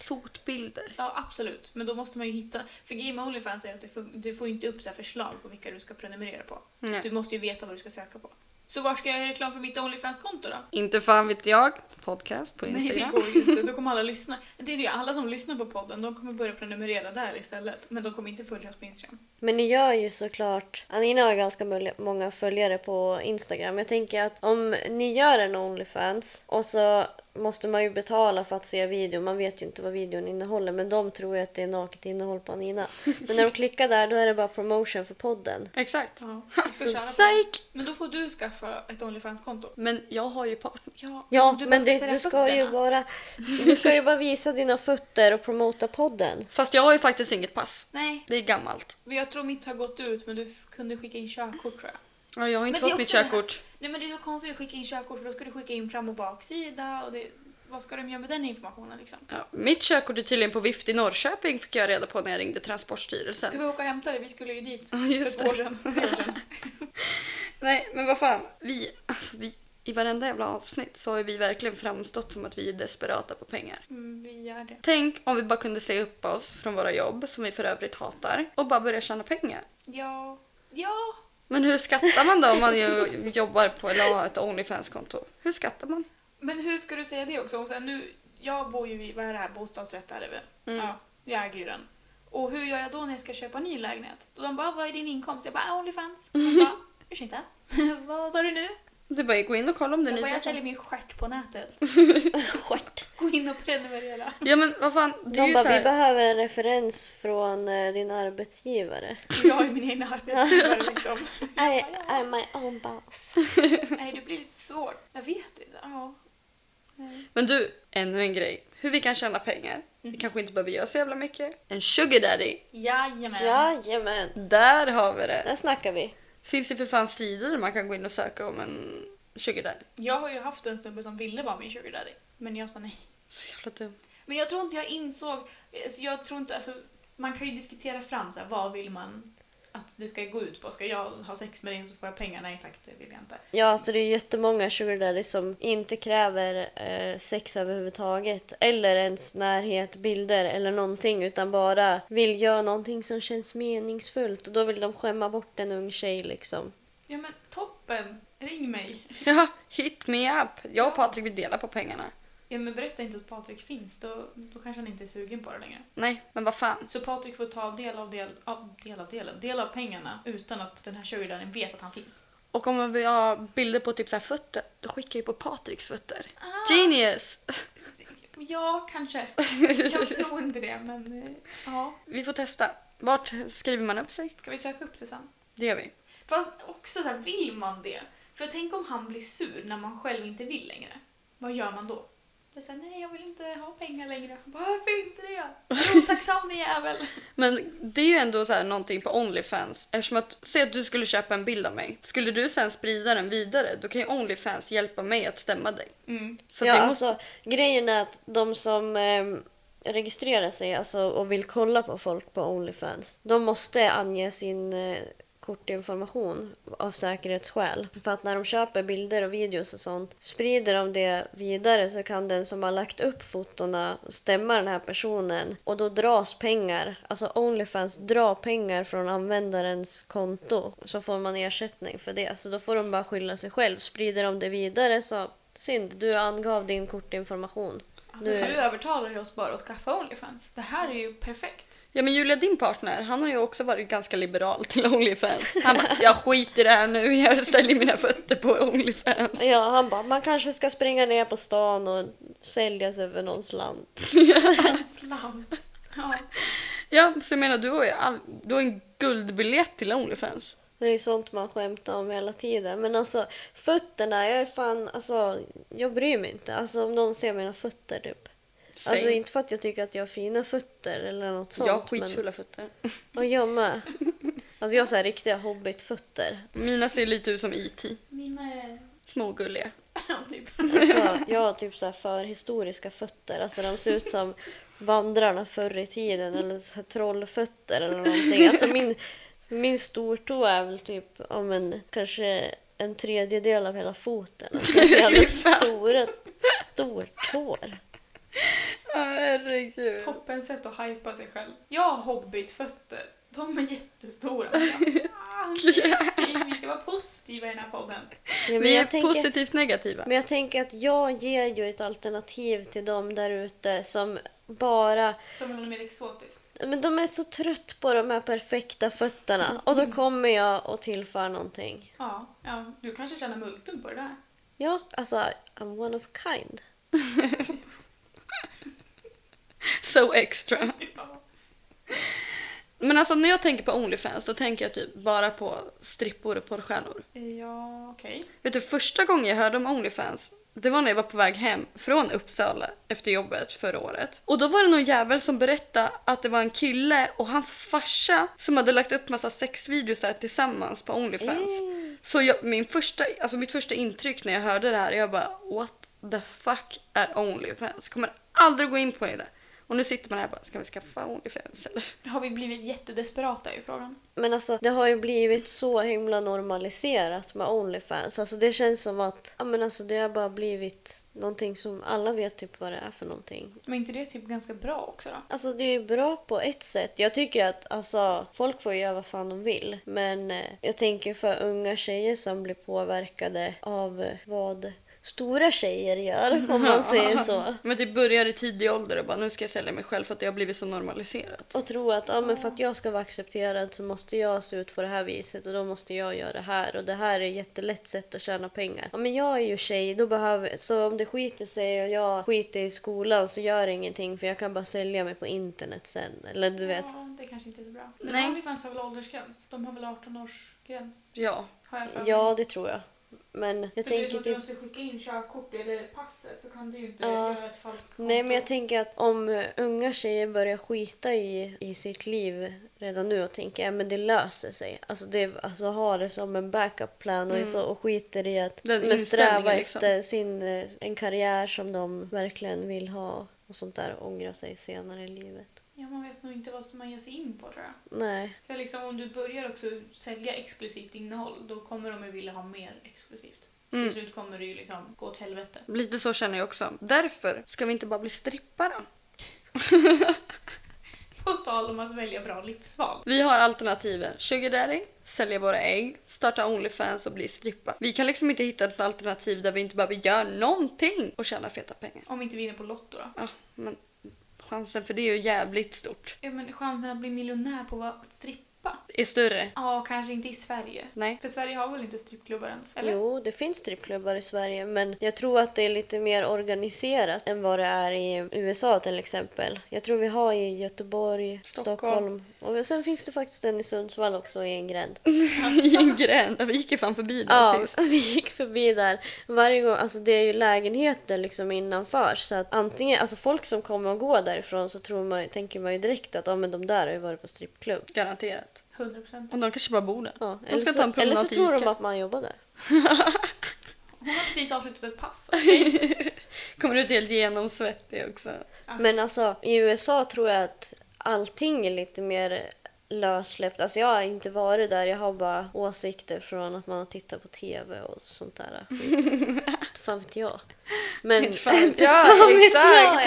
Speaker 3: Fotbilder.
Speaker 4: Ja, absolut. Men då måste man ju hitta... För Game Onlyfans är att du, fun- du får ju inte upp så här förslag på vilka du ska prenumerera på.
Speaker 3: Nej.
Speaker 4: Du måste ju veta vad du ska söka på. Så var ska jag göra reklam för mitt Onlyfans-konto då?
Speaker 3: Inte fan vet jag. Podcast på
Speaker 4: Nej, det
Speaker 3: Instagram.
Speaker 4: går ju inte. Då kommer alla lyssna. Det är det, alla som lyssnar på podden de kommer börja prenumerera där istället. Men de kommer inte följa oss på Instagram.
Speaker 1: Men ni gör ju såklart, Anina har ganska mul- många följare på Instagram. Jag tänker att om ni gör en Onlyfans och så måste man ju betala för att se videon. Man vet ju inte vad videon innehåller men de tror ju att det är naket innehåll på Anina. Men när de klickar där då är det bara promotion för podden.
Speaker 3: Exakt.
Speaker 4: Ja, vi
Speaker 3: Alltså,
Speaker 4: får köra på.
Speaker 3: psyk!
Speaker 4: Men då får du skaffa ett Onlyfans-konto.
Speaker 3: Men jag har ju partner.
Speaker 4: Ja,
Speaker 1: Ja,
Speaker 4: om du bara
Speaker 1: men det,
Speaker 4: sälja
Speaker 1: du ska ju
Speaker 4: fötterna.
Speaker 1: bara du ska ju bara visa dina fötter och promota podden.
Speaker 3: Fast jag har ju faktiskt inget pass.
Speaker 4: Nej,
Speaker 3: Det är gammalt.
Speaker 4: men jag tror mitt har gått ut men du f- kunde skicka in körkort tror jag.
Speaker 3: Ja, jag har inte
Speaker 4: Men det är
Speaker 3: fått mitt
Speaker 4: också det här-
Speaker 3: körkort.
Speaker 4: Nej men det är så konstigt att skicka in körkort för då ska du skicka in fram och baksida och det, vad ska de göra med den informationen liksom?
Speaker 3: Ja, mitt körkort är tydligen på vift i Norrköping fick jag reda på när jag ringde Transportstyrelsen.
Speaker 4: Ska vi åka och hämta det? Vi skulle ju dit
Speaker 3: Ja, just
Speaker 4: för ett år
Speaker 3: det.
Speaker 4: sedan. Tre år sedan.
Speaker 3: Nej, men vad fan. Vi, alltså vi, I varenda jävla avsnitt så har vi verkligen framstått som att vi är desperata på pengar.
Speaker 4: Mm, vi gör det.
Speaker 3: Tänk om vi bara kunde se upp oss från våra jobb, som vi för övrigt hatar, och bara börja tjäna pengar.
Speaker 4: Ja. Ja.
Speaker 3: Men hur skattar man då om man ju jobbar på eller har ett Onlyfans-konto? Hur skattar man?
Speaker 4: Men hur ska du säga det också? Och sen nu, jag bor ju i, vad är det här, bostadsrätt är det väl?
Speaker 3: Mm.
Speaker 4: Ja, jag äger ju den. Och hur gör jag då när jag ska köpa ny lägenhet? Och de bara, vad är din inkomst? Jag bara, "Ah, Onlyfans. De bara, ursäkta? vad sa du nu?
Speaker 3: Du bara gå in och kolla om det är
Speaker 4: Jag bara, jag
Speaker 3: nyfiken.
Speaker 4: säljer min stjärt på nätet.
Speaker 1: Stjärt.
Speaker 4: Gå in och prenumerera.
Speaker 3: Ja men vad fan, det är
Speaker 1: De
Speaker 3: ju
Speaker 1: bara,
Speaker 3: så
Speaker 1: vi
Speaker 3: här,
Speaker 1: behöver en referens från eh, din arbetsgivare.
Speaker 4: Jag är min egna arbetsgivare liksom.
Speaker 1: I, I'm my own boss.
Speaker 4: Nej, det blir lite svårt. Jag vet inte. Ja.
Speaker 3: Men du, ännu en grej. Hur vi kan tjäna pengar. Vi kanske inte behöver göra så jävla mycket. En sugar daddy.
Speaker 4: Jajamän.
Speaker 1: Jajamän.
Speaker 3: Där har vi det.
Speaker 1: Där snackar vi.
Speaker 3: Finns det för fan sidor där man kan gå in och söka om en sugar daddy?
Speaker 4: Jag har ju haft en snubbe som ville vara min sugar daddy, men jag sa nej.
Speaker 3: Så jävla dum.
Speaker 4: Men jag tror alltså, inte jag insåg, så jag tror inte, alltså, man kan ju diskutera fram så här, vad vill man att det ska gå ut på. Ska jag ha sex med dig så får jag pengar. Nej tack, det vill jag inte.
Speaker 1: Ja, så det är jättemånga sugar daddies som inte kräver eh, sex överhuvudtaget. Eller ens närhet, bilder eller någonting. Utan bara vill göra någonting som känns meningsfullt. Och då vill de skämma bort en ung tjej liksom.
Speaker 4: Ja men toppen! Ring mig!
Speaker 3: Ja, hit me up. Jag och Patrik vill dela på pengarna.
Speaker 4: Ja men berätta inte att Patrik finns, då, då kanske han inte är sugen på det längre.
Speaker 3: Nej, men vad fan.
Speaker 4: Så Patrik får ta del av, del, av, del, av delen, del av pengarna utan att den här sugardadden vet att han finns.
Speaker 3: Och om man vill ha bilder på typ så här fötter, då skickar jag ju på Patriks fötter.
Speaker 1: Ah.
Speaker 3: Genius!
Speaker 4: Ah, Ja, kanske. Jag tror inte det, men eh, ja.
Speaker 3: Vi får testa. Vart skriver man upp sig?
Speaker 4: Ska vi söka upp det sen?
Speaker 3: Det gör vi.
Speaker 4: Fast också så här, vill man det? För tänk om han blir sur när man själv inte vill längre. Vad gör man då? Du säger nej, jag vill inte ha pengar längre. Varför inte det? Jo, tacksam din jävel.
Speaker 3: Men det är ju ändå så här någonting på Onlyfans. Eftersom att, säg att du skulle köpa en bild av mig. Skulle du sen sprida den vidare, då kan ju Onlyfans hjälpa mig att stämma dig.
Speaker 4: Mm.
Speaker 3: Så
Speaker 1: ja,
Speaker 3: det måste...
Speaker 1: alltså, grejen är att de som ehm, registrerar sig alltså, och vill kolla på folk på Onlyfans, de måste ange sin eh, kortinformation av säkerhetsskäl. För att när de köper bilder och videos och sånt, sprider de det vidare så kan den som har lagt upp fotona stämma den här personen och då dras pengar, alltså Onlyfans drar pengar från användarens konto så får man ersättning för det. Så då får de bara skylla sig själv. Sprider de det vidare så Synd, du angav din kortinformation.
Speaker 4: Alltså,
Speaker 1: Nu-
Speaker 4: du övertalar ju oss bara att skaffa Onlyfans. Det här är ju perfekt.
Speaker 3: Ja men Julia, din partner, han har ju också varit ganska liberal till Onlyfans. Han bara, jag skiter i det här nu, jag säljer mina fötter på Onlyfans.
Speaker 1: Ja, han bara, man kanske ska springa ner på stan och säljas över någon slant.
Speaker 4: En slant. Ja.
Speaker 3: Ja, så jag menar, du har ju all... du har en guldbiljett till Onlyfans.
Speaker 1: Det är ju sånt man skämtar om hela tiden. Men alltså fötterna, jag är fan, alltså jag bryr mig inte. Alltså om någon ser mina fötter typ.
Speaker 3: Säg.
Speaker 1: Alltså inte för att jag tycker att jag har fina fötter eller något sånt.
Speaker 3: jag har
Speaker 1: men...
Speaker 3: skitfula fötter.
Speaker 1: Och jag med. Alltså jag har så här riktiga hobbitfötter.
Speaker 3: Mina ser lite ut som IT.
Speaker 4: Mina är...
Speaker 3: Smågulliga.
Speaker 4: Ja, typ.
Speaker 1: Alltså, jag har typ så här förhistoriska fötter. Alltså de ser ut som vandrarna förr i tiden eller så här trollfötter eller någonting. Alltså min, min stortå är väl typ om en, kanske en tredjedel av hela foten. Alltså, det är så jävla
Speaker 3: Fy fan.
Speaker 1: stora stortår.
Speaker 3: Herregud.
Speaker 4: Toppen sätt att hypa sig själv. Jag har hobbitfötter. De är jättestora. Ah, vi- Vi ska vara positiva i den här podden.
Speaker 1: Ja, men
Speaker 3: Vi är
Speaker 1: jag tänker,
Speaker 3: positivt negativa.
Speaker 1: men jag tänker att jag ger ju ett alternativ till dem där ute som bara
Speaker 4: Som är något mer exotiskt.
Speaker 1: men de är så trött på de här perfekta fötterna och då kommer jag och tillför någonting.
Speaker 4: Ja, ja, du kanske tjänar multum på det där.
Speaker 1: Ja, alltså I'm one of a kind.
Speaker 3: So extra.
Speaker 4: Ja.
Speaker 3: Men alltså när jag tänker på Onlyfans då tänker jag typ bara på strippor och porrstjärnor.
Speaker 4: Ja, okej.
Speaker 3: Vet du, första gången jag hörde om Onlyfans det var när jag var på väg hem från Uppsala efter jobbet förra året. Och då var det någon jävel som berättade att det var en kille och hans farsa som hade lagt upp massa sexvideos där tillsammans på Onlyfans. Så jag, min första, alltså mitt första intryck när jag hörde det här, jag bara what the fuck är Onlyfans? Kommer aldrig gå in på det. Och nu sitter man här och bara, ska vi skaffa Onlyfans eller?
Speaker 4: Har vi blivit jättedesperata i frågan?
Speaker 1: Men alltså det har ju blivit så himla normaliserat med Onlyfans. Alltså det känns som att ja, men alltså, det har bara blivit någonting som alla vet typ vad det är för någonting.
Speaker 4: Men inte det typ ganska bra också då?
Speaker 1: Alltså det är ju bra på ett sätt. Jag tycker att alltså, folk får göra vad fan de vill. Men eh, jag tänker för unga tjejer som blir påverkade av eh, vad stora tjejer gör om man säger så.
Speaker 3: Men typ börjar i tidig ålder och bara, nu ska jag sälja mig själv för att det har blivit så normaliserat.
Speaker 1: Och tro att ja, men för att jag ska vara accepterad så måste jag se ut på det här viset och då måste jag göra det här och det här är ett jättelätt sätt att tjäna pengar. Ja, men jag är ju tjej, då behöver, så om det skiter sig och jag skiter i skolan så gör det ingenting för jag kan bara sälja mig på internet sen. Eller du vet.
Speaker 4: Ja, det kanske inte är så bra. Men
Speaker 3: Nej.
Speaker 4: Onlyfans har väl åldersgräns? De har väl 18-årsgräns?
Speaker 3: Ja.
Speaker 4: Har jag för mig.
Speaker 1: Ja, det tror jag. Men jag
Speaker 4: För det är
Speaker 1: tänker
Speaker 4: som att du
Speaker 1: typ...
Speaker 4: måste skicka in körkort eller passet så kan du ju inte
Speaker 1: Ja.
Speaker 4: göra ett falskt konto.
Speaker 1: Nej, men jag tänker att om eh, unga tjejer börjar skita i, i sitt liv redan nu och tänker att men det löser sig. Alltså, det, alltså har det som en backup plan och, är så, och skiter i att
Speaker 3: Mm. Den
Speaker 1: men sträva
Speaker 3: inställningen, liksom.
Speaker 1: efter sin, eh, en karriär som de verkligen vill ha och sånt där och ångra sig senare i livet.
Speaker 4: Ja, man vet nog inte vad som man ger sig in på tror jag.
Speaker 1: Nej.
Speaker 4: Så liksom, om du börjar också sälja exklusivt innehåll då kommer de ju vilja ha mer exklusivt.
Speaker 3: Mm.
Speaker 4: Till slut kommer det ju liksom gå åt helvete.
Speaker 3: Lite så känner jag också. Därför ska vi inte bara bli strippare.
Speaker 4: På tal om att välja bra livsval.
Speaker 3: Vi har alternativen sugar daddy, sälja våra ägg, starta Onlyfans och bli strippa. Vi kan liksom inte hitta ett alternativ där vi inte behöver göra någonting och tjäna feta pengar.
Speaker 4: Om inte vinner på Lotto då.
Speaker 3: Ja, men chansen för det är ju jävligt stort.
Speaker 4: Ja, men chansen att bli miljonär på att strippa?
Speaker 3: Är större.
Speaker 4: Ja, kanske inte i Sverige.
Speaker 3: Nej.
Speaker 4: För Sverige har väl inte strippklubbar ens? Eller?
Speaker 1: Jo, det finns strippklubbar i Sverige men jag tror att det är lite mer organiserat än vad det är i USA till exempel. Jag tror vi har i Göteborg,
Speaker 3: Stockholm.
Speaker 1: Stockholm, och sen finns det faktiskt en i Sundsvall också i en gränd.
Speaker 3: I en gränd. Vi gick ju fan förbi den
Speaker 1: Alltså. Ja,
Speaker 3: sist.
Speaker 1: vi gick förbi där varje gång. Alltså det är ju lägenheter liksom innanför så att antingen, alltså folk som kommer och går därifrån så tror man, tänker man ju direkt att ja men de där har ju varit på strippklubb.
Speaker 3: Garanterat.
Speaker 4: 100%.
Speaker 3: Och de kanske bara bor där.
Speaker 1: Ja,
Speaker 3: de
Speaker 1: eller,
Speaker 3: ska ta en
Speaker 1: så, eller
Speaker 3: promenad
Speaker 1: så
Speaker 3: till
Speaker 1: tror de
Speaker 3: Ica.
Speaker 1: att man jobbar där.
Speaker 4: Hon har precis avslutat ett pass.
Speaker 3: Kommer ut helt genomsvettig också.
Speaker 1: Men alltså i USA tror jag att allting är lite mer lössläppt. Alltså jag har inte varit där, jag har bara åsikter från att man har tittat på TV och sånt där skit. Inte fan vet jag. Men,
Speaker 3: Inte fan vet
Speaker 1: Inte
Speaker 3: jag,
Speaker 1: fan vet
Speaker 3: exakt.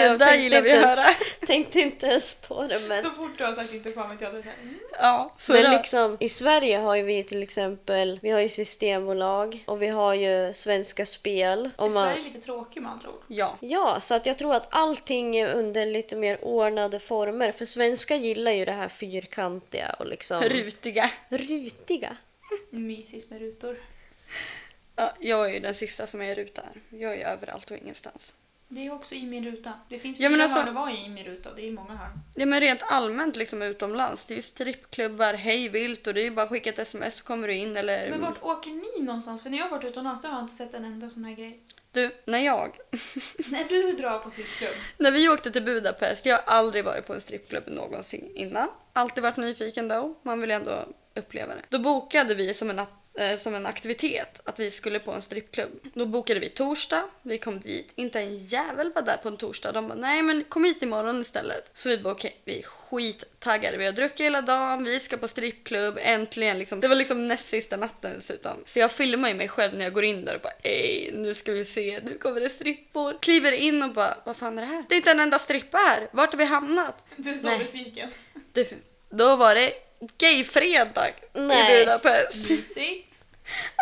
Speaker 1: jag.
Speaker 3: Det där
Speaker 1: tänkte
Speaker 3: gillar vi
Speaker 1: inte
Speaker 3: att
Speaker 1: ens-
Speaker 3: höra.
Speaker 1: Tänkte inte ens på det men...
Speaker 4: Så fort du har sagt inte fan vet jag, då är det såhär mm.
Speaker 3: Ja,
Speaker 1: Men
Speaker 3: förra.
Speaker 1: liksom, i Sverige har ju vi till exempel, vi har ju Systembolag och vi har ju Svenska Spel. Och man,
Speaker 4: Sverige är lite tråkig med andra ord.
Speaker 3: Ja.
Speaker 1: Ja, så att jag tror att allting är under lite mer ordnade former. För svenskar gillar ju det här fyrkantiga och liksom...
Speaker 3: Rutiga.
Speaker 1: Rutiga.
Speaker 4: Mysigt med rutor.
Speaker 3: Ja, jag är ju den sista som är i ruta här. Jag är ju överallt och ingenstans.
Speaker 4: Det är också i min ruta. Det finns
Speaker 3: Ja,
Speaker 4: fyra
Speaker 3: men alltså-
Speaker 4: hörn att vara i min ruta. Det är många hörn.
Speaker 3: Ja men rent allmänt liksom utomlands. Det är ju strippklubbar hej vilt och det är ju bara att skicka ett sms så kommer du in eller...
Speaker 4: Men vart åker ni någonstans? För när jag har varit utomlands då har jag inte sett en enda sån här grej.
Speaker 3: Du, när jag...
Speaker 4: När du drar på strippklubb.
Speaker 3: När vi åkte till Budapest, jag har aldrig varit på en strippklubb någonsin innan. Alltid varit nyfiken då, man vill ju ändå uppleva det. Då bokade vi som en, at- eh, som en aktivitet att vi skulle på en strippklubb. Då bokade vi torsdag, vi kom dit, inte en jävel var där på en torsdag. De bara nej men kom hit imorgon istället. Så vi bara okej, vi är skittaggade, vi har druckit hela dagen, vi ska på strippklubb, äntligen liksom. Det var liksom näst sista natten dessutom. Så jag filmar ju mig själv när jag går in där och bara ej, nu ska vi se, nu kommer det strippor. Kliver in och bara vad fan är det här? Det är inte en enda strippa här, vart har vi hamnat?
Speaker 4: Du är så
Speaker 3: Nej.
Speaker 4: besviken.
Speaker 3: Du, då var det gayfredag i
Speaker 1: Nej.
Speaker 3: Budapest.
Speaker 4: Mysigt.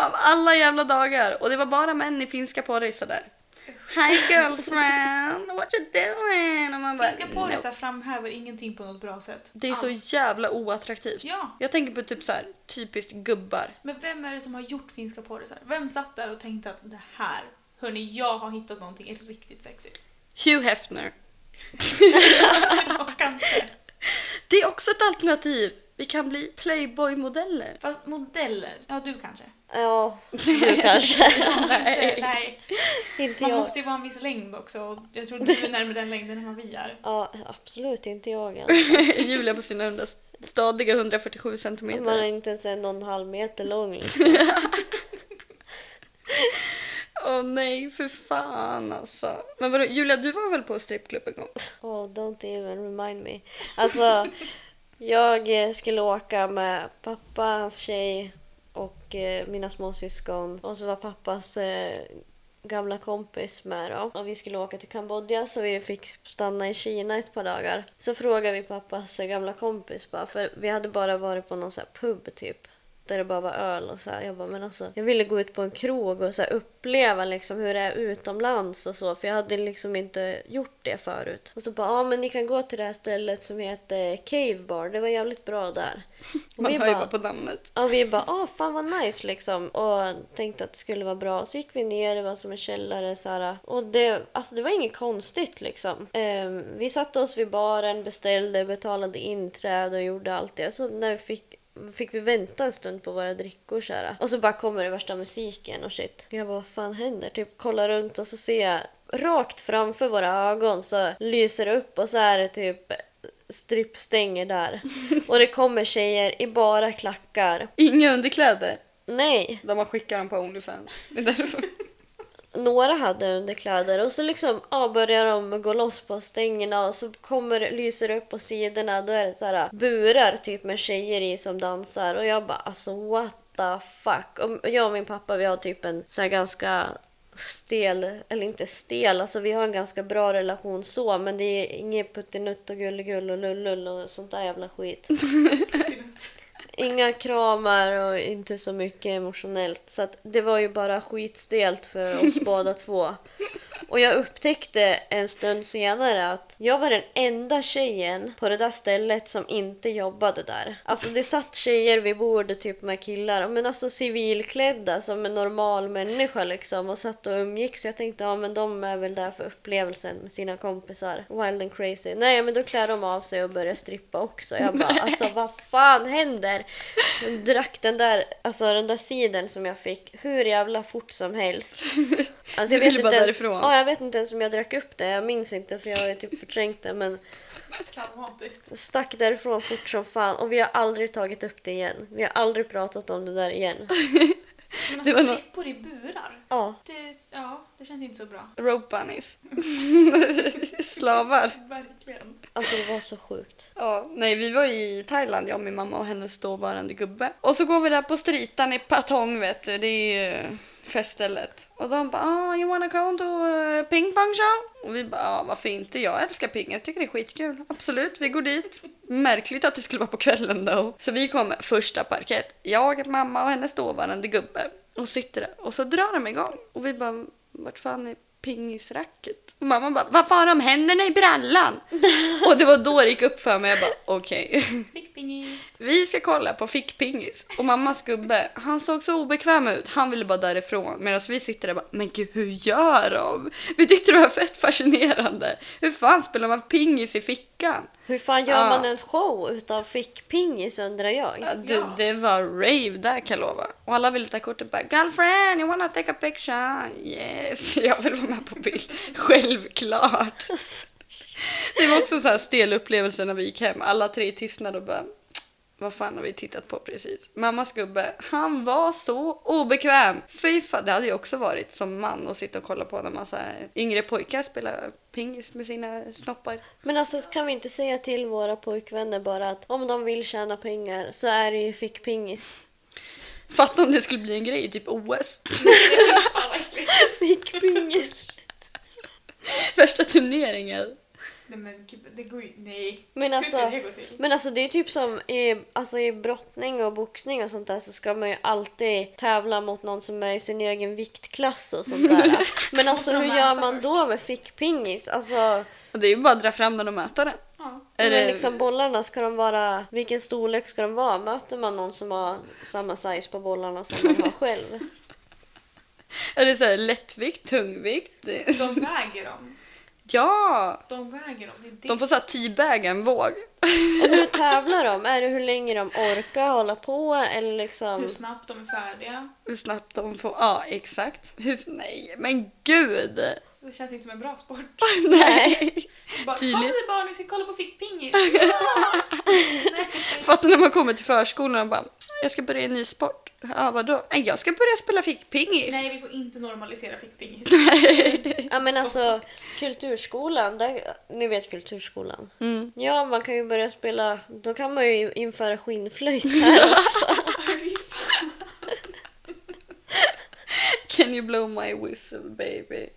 Speaker 3: Av alla jävla dagar. Och det var bara män i finska porrisar där. Hi girlfriend, what you doing? Och man bara,
Speaker 4: Finska
Speaker 3: "No."
Speaker 4: porrisar framhäver ingenting på något bra sätt.
Speaker 3: Det är så
Speaker 4: Alls.
Speaker 3: jävla oattraktivt.
Speaker 4: Ja.
Speaker 3: Jag tänker på typ så här, typiskt gubbar.
Speaker 4: Men vem är det som har gjort finska porrisar? Vem satt där och tänkte att det här, hörni, jag har hittat någonting riktigt sexigt.
Speaker 3: Hugh Hefner.
Speaker 4: Ja, kanske.
Speaker 3: Det är också ett alternativ. Vi kan bli playboy-modeller.
Speaker 4: Fast modeller, ja du kanske.
Speaker 1: Ja, du kanske.
Speaker 4: Nej. Nej.
Speaker 1: inte
Speaker 4: Man
Speaker 1: jag.
Speaker 4: måste ju vara en viss längd också och jag tror du är närmare den längden än vad vi är.
Speaker 1: Ja, absolut inte jag än.
Speaker 3: Julia på sina hundra stadiga 147
Speaker 1: Man är
Speaker 3: centimeter.
Speaker 1: inte ens en och en halv meter lång liksom.
Speaker 3: Åh nej, för fan alltså. Men vadå, Julia du var väl på strippklubb en gång?
Speaker 1: Oh, don't even remind me. Alltså, jag eh, skulle åka med pappa, hans tjej och eh, mina småsyskon. Och så var pappas eh, gamla kompis med då. Och vi skulle åka till Kambodja så vi fick stanna i Kina ett par dagar. Så frågade vi pappas eh, gamla kompis bara, för vi hade bara varit på någon sån här pub typ. Där det bara var öl och så här. Jag bara, men alltså, jag ville gå ut på en krog och så här uppleva liksom hur det är utomlands och så. För jag hade liksom inte gjort det förut. Och så bara, ja men ni kan gå till det här stället som heter Cave Bar. Det var jävligt bra där. Och
Speaker 3: Man
Speaker 1: vi
Speaker 3: hör ju
Speaker 1: bara-
Speaker 3: bara på namnet.
Speaker 1: Ja, vi bara ah fan vad nice liksom och tänkte att det skulle vara bra. Så gick vi ner, det var som en källare så här, och det, alltså, det var inget konstigt liksom. Ehm, vi satte oss vid baren, beställde, betalade inträde och gjorde allt det. Så när vi fick Fick vi vänta en stund på våra drickor så här. Och så bara kommer det värsta musiken och shit. Jag bara, vad fan händer? Typ kollar runt och så ser jag rakt framför våra ögon så lyser det upp och så är det typ strippstänger där. Och det kommer tjejer i bara klackar.
Speaker 3: Inga underkläder.
Speaker 1: Nej,
Speaker 3: De har skickat dem på Onlyfans. Det är därför.
Speaker 1: några hade underkläder och så liksom ja, börjar de gå loss på stängerna och så kommer, lyser det upp på sidorna. Då är det så här burar typ med tjejer i som dansar och jag bara alltså what the fuck. Och jag och min pappa vi har typ en så här ganska stel, eller inte stel, alltså vi har en ganska bra relation så men det är inget puttinutt och gullegull och lullull och sånt där jävla skit. Inga kramar och inte så mycket emotionellt. Så att det var ju bara skitstelt för oss båda två. Och jag upptäckte en stund senare att jag var den enda tjejen på det där stället som inte jobbade där. Alltså det satt tjejer vid bordet typ med killar, men alltså civilklädda som en normal människa liksom och satt och umgicks. Så jag tänkte ja men de är väl där för upplevelsen med sina kompisar. Wild and crazy. Nej men då klär de av sig och börjar strippa också. Jag bara alltså vad fan händer? Jag drack den där, alltså den där sidan som jag fick hur jävla fort som helst. Alltså,
Speaker 3: Du ville bara
Speaker 1: ens-
Speaker 3: därifrån.
Speaker 1: Ja, jag vet inte ens om jag drack upp det. Jag minns inte för jag har ju typ förträngt det. Men
Speaker 4: Traumatiskt.
Speaker 1: stack därifrån fort som fan och vi har aldrig tagit upp det igen. Vi har aldrig pratat om det där igen.
Speaker 4: Men
Speaker 3: Det var
Speaker 4: alltså
Speaker 3: nå-
Speaker 4: strippor i burar.
Speaker 1: Ja.
Speaker 4: Det, ja, det känns inte så bra.
Speaker 3: Rope bunnies. Slavar.
Speaker 4: Verkligen.
Speaker 1: Alltså det var så sjukt.
Speaker 3: Ja, nej, vi var i Thailand, jag och min mamma och hennes dåvarande gubbe. Och så går vi där på streetan i Patong, vet du. Det är ju eh, feststället. Och de bara ah, “You wanna go to a ping pong show?” Och vi bara ah, “Varför inte? Jag älskar ping, jag tycker det är skitkul. Absolut, vi går dit.” Märkligt att det skulle vara på kvällen då. Så vi kom första parkett. Jag, mamma och hennes dåvarande gubbe. Och sitter där. Och så drar de igång. Och vi bara “Vart fan är pingisracket?” Och mamma bara “Vad fan har de händerna i brallan?” Och det var då det gick upp för mig. Jag bara okej.
Speaker 4: Fick pingis.
Speaker 3: Vi ska kolla på fickpingis. Och mammas gubbe, han såg så obekväm ut. Han ville bara därifrån. Medan vi sitter där och bara, men gud hur gör de? Vi tyckte det var fett fascinerande. Hur fan spelar man pingis i fickan?
Speaker 1: Hur fan gör
Speaker 3: Ja.
Speaker 1: man en show utav fickpingis undrar jag.
Speaker 3: Ja, du,
Speaker 4: Ja.
Speaker 3: Det var rave där kan jag lova. Och alla ville ta kort och bara “Girlfriend, you wanna take a picture?” “Yes, jag vill vara med på bild.” Självklart! Det var också så här stel upplevelse när vi gick hem. Alla tre tystnade och bara “Vad fan har vi tittat på precis?” Mammas gubbe, han var så obekväm! Fy fan, det hade jag också varit som man att sitta och kolla på när man så här, yngre pojkar spelar pingis med sina snoppar.
Speaker 1: Men alltså kan vi inte säga till våra pojkvänner bara att om de vill tjäna pengar så är det ju fickpingis.
Speaker 3: Fatta om det skulle bli en grej i typ OS.
Speaker 4: Fan vad äckligt.
Speaker 1: Fickpingis.
Speaker 3: Värsta turneringen.
Speaker 4: Nej men gud, det går ju... Nej.
Speaker 1: Men alltså-
Speaker 4: Hur skulle det gå till?
Speaker 1: Men alltså det är typ som i, alltså i brottning och boxning och sånt där så ska man ju alltid tävla mot någon som är i sin egen viktklass och sånt där. Men alltså
Speaker 4: Måste de
Speaker 1: hur gör
Speaker 4: mäta
Speaker 1: man
Speaker 4: först?
Speaker 1: då med fickpingis? Alltså,
Speaker 3: Och det är ju bara att dra fram den och möta den.
Speaker 4: Ja.
Speaker 1: är
Speaker 3: Är det-
Speaker 1: liksom bollarna, ska de vara, vilken storlek ska de vara? Möter man någon som har samma size på bollarna som man har själv?
Speaker 3: Är det så här lättvikt, tungvikt?
Speaker 4: De väger dem.
Speaker 3: Ja!
Speaker 4: De väger dem. Det är det.
Speaker 3: De får såhär teabag en våg.
Speaker 1: Och hur tävlar de? Är det hur länge de orkar hålla på eller liksom?
Speaker 4: Hur snabbt de är färdiga.
Speaker 3: Hur snabbt de får... Ja, exakt. Hur... Nej, men gud!
Speaker 4: Det känns inte som en bra sport.
Speaker 3: Nej!
Speaker 4: Bara,
Speaker 3: Tydligt.
Speaker 4: Kom nu barn, vi ska kolla på fickpingis.
Speaker 3: Fattar när man kommer till förskolan och bara “Jag ska börja en ny sport”. Ja, vadå? Nej, jag ska börja spela fickpingis.
Speaker 4: Nej, vi får inte normalisera fickpingis.
Speaker 1: Ja men alltså kulturskolan, där, ni vet kulturskolan.
Speaker 3: Mm.
Speaker 1: Ja, man kan ju börja spela, då kan man ju införa skinnflöjt här också.
Speaker 3: Can you blow my whistle baby?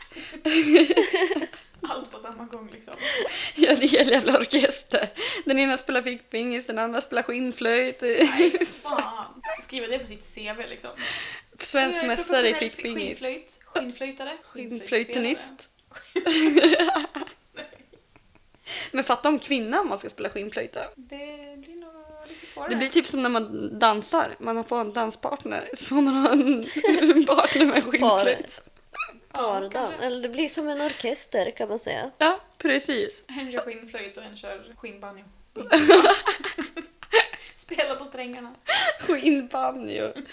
Speaker 4: Allt på samma gång liksom.
Speaker 3: Ja, det är en jävla orkester. Den ena spelar fickpingis, den andra spelar skinnflöjt.
Speaker 4: Fan. Skriva det på sitt CV liksom.
Speaker 3: Svensk
Speaker 4: Jag är
Speaker 3: mästare i
Speaker 4: professionell
Speaker 3: fickpingis.
Speaker 4: Skinnflöjt, skinnflöjtare.
Speaker 3: Skinnflöjtenist. Men fatta om kvinna om man ska spela skinnflöjta.
Speaker 4: Det blir nog lite svårare.
Speaker 3: Det blir typ som när man dansar. Man får en danspartner. Så får man ha en, en partner med skinnflöjt.
Speaker 4: ja,
Speaker 1: Pardan.
Speaker 4: kanske.
Speaker 1: Eller det blir som en orkester kan man säga.
Speaker 3: Ja, precis.
Speaker 4: En kör skinnflöjt och en kör skinnbanjo. Spela på strängarna.
Speaker 3: Skinnbanjo.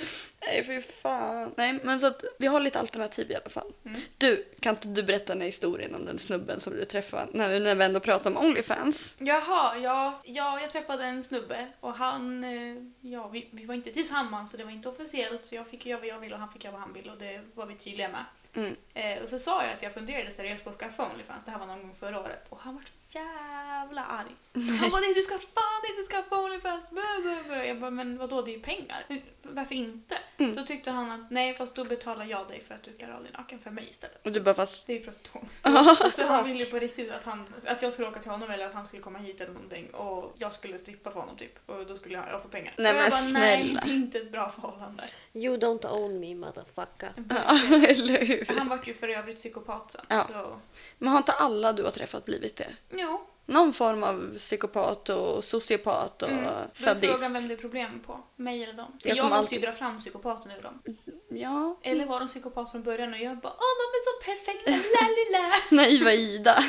Speaker 3: Nej, fy fan. Nej, men så att vi har lite alternativ i alla fall.
Speaker 4: Mm.
Speaker 3: Du, kan inte du berätta den här historien om den snubben som du träffade när vi, när vi ändå pratar om Onlyfans?
Speaker 4: Jaha, ja, ja, jag träffade en snubbe och han, eh, ja vi, vi var inte tillsammans så det var inte officiellt så jag fick göra vad jag ville och han fick göra vad han ville och det var vi tydliga med.
Speaker 3: Mm.
Speaker 4: Eh, och så sa jag att jag funderade seriöst på att skaffa Onlyfans, det här var någon gång förra året och han var så jävla arg. Han bara nej du ska fan inte skaffa Onlyfans, bö, bö, bö. Jag bara men vadå det är ju pengar, Men varför inte?
Speaker 3: Mm.
Speaker 4: Då tyckte han att nej fast då betalar jag dig för att du klär av dig naken för mig istället.
Speaker 3: Och du bara fast...
Speaker 4: Det är ju prostitution.
Speaker 3: Mm.
Speaker 4: så han ville ju på riktigt att, han, att jag skulle åka till honom eller att han skulle komma hit eller någonting och jag skulle strippa för honom typ och då skulle jag, jag få pengar.
Speaker 3: Nej,
Speaker 4: och
Speaker 3: men
Speaker 4: jag nej
Speaker 3: snälla."
Speaker 4: det är inte ett bra förhållande.
Speaker 1: You don't own me motherfucker.
Speaker 3: Ja, eller hur?
Speaker 4: Han vart ju för övrigt psykopat sen.
Speaker 3: Ja.
Speaker 4: Så.
Speaker 3: Men har inte alla du har träffat blivit det?
Speaker 4: Jo,
Speaker 3: Någon form av psykopat och sociopat och
Speaker 4: Mm. då är
Speaker 3: sadist?
Speaker 4: frågan vem det är problem på. Mig eller dem.
Speaker 3: Jag
Speaker 4: Jag,
Speaker 3: kommer
Speaker 4: måste
Speaker 3: alltid- Mm.
Speaker 4: ju dra fram psykopaten ur dem.
Speaker 3: Ja.
Speaker 4: Eller var de psykopat från början och jag bara åh de är så perfekta, la la la.
Speaker 3: Naiva Ida.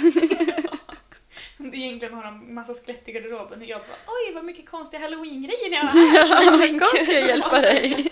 Speaker 4: Egentligen har de massa skelett i garderoben och jag bara oj vad mycket konstiga halloween-grejer ni har här. Men
Speaker 3: Gott ska jag
Speaker 4: gud.
Speaker 3: hjälpa dig.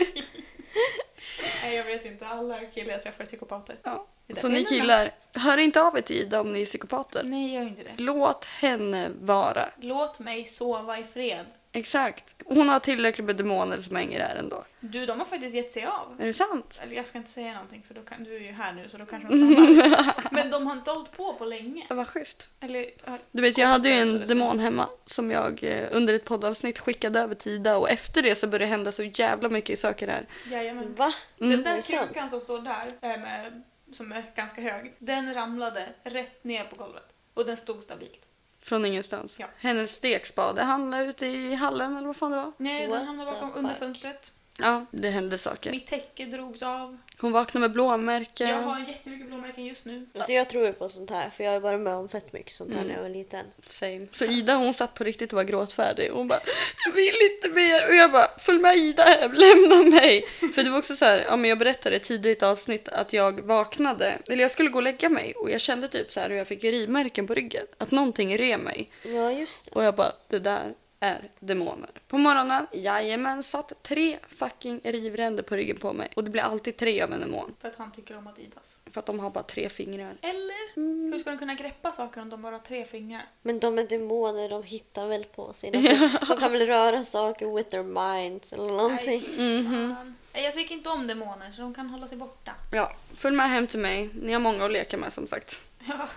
Speaker 4: Nej jag vet inte, alla killar jag träffar är psykopater.
Speaker 3: Ja.
Speaker 4: Det där
Speaker 3: Så
Speaker 4: är
Speaker 3: ni
Speaker 4: en
Speaker 3: killar, hör inte av er till Ida om ni är psykopater.
Speaker 4: Nej gör inte det.
Speaker 3: Låt henne vara.
Speaker 4: Låt mig sova i fred.
Speaker 3: Exakt. Hon har tillräckligt med demoner som hänger där ändå.
Speaker 4: Du, de har faktiskt gett sig av.
Speaker 3: Är det sant?
Speaker 4: Eller jag ska inte säga någonting för då kan, du är ju här nu så då kanske de stannar. Men de har inte hållit på på länge.
Speaker 3: Det var schysst.
Speaker 4: Eller, ja,
Speaker 3: Du vet, jag hade ju en
Speaker 4: skottet,
Speaker 3: demon hemma som jag eh, under ett poddavsnitt skickade över till Ida och efter det så började det hända så jävla mycket saker här. Mm.
Speaker 4: Jajamän.
Speaker 1: Va?
Speaker 4: Den
Speaker 1: Mm. Det är
Speaker 4: där
Speaker 1: sant.
Speaker 4: krukan som står där, eh, med, som är ganska hög, den ramlade rätt ner på golvet. Och den stod stabilt.
Speaker 3: Från ingenstans.
Speaker 4: Ja.
Speaker 3: Hennes stekspade han la ute i hallen eller vad fan det var.
Speaker 4: Nej,
Speaker 1: What
Speaker 4: den hamnade
Speaker 1: the
Speaker 4: bakom under
Speaker 1: fuck?
Speaker 4: fönstret.
Speaker 3: Ja, det hände saker.
Speaker 4: Mitt täcke drogs av.
Speaker 3: Hon vaknade med blåmärken.
Speaker 4: Jag har jättemycket blåmärken just nu.
Speaker 1: Alltså jag tror ju på sånt här för jag har varit med om fett mycket sånt här
Speaker 3: Mm.
Speaker 1: när jag var liten.
Speaker 3: Same. Så Ida hon satt på riktigt och var gråtfärdig. Hon bara “Jag vill inte mer” och jag bara “Följ med Ida hem, lämna mig”. För det var också så här, ja, men jag berättade tidigt i avsnitt att jag vaknade, eller jag skulle gå och lägga mig och jag kände typ så här hur jag fick rimärken på ryggen. Att någonting rev mig.
Speaker 1: Ja just det.
Speaker 3: Och jag bara “Det där är demoner”. På morgonen, jajamän, satt tre fucking rivränder på ryggen på mig. Och det blir alltid tre av en demon.
Speaker 4: För att han tycker om Adidas.
Speaker 3: För att de har bara tre fingrar.
Speaker 4: Eller?
Speaker 1: Mm.
Speaker 4: Hur ska de kunna greppa saker om de bara har tre fingrar?
Speaker 1: Men de är demoner, de hittar väl på sig. Alltså, de kan väl röra saker with their minds eller någonting. Mm-hmm.
Speaker 4: Nej, fy fan. Nej, Jag tycker inte om demoner så de kan hålla sig borta.
Speaker 3: Ja, följ med hem till mig. Ni har många att leka med som sagt.
Speaker 4: Ja.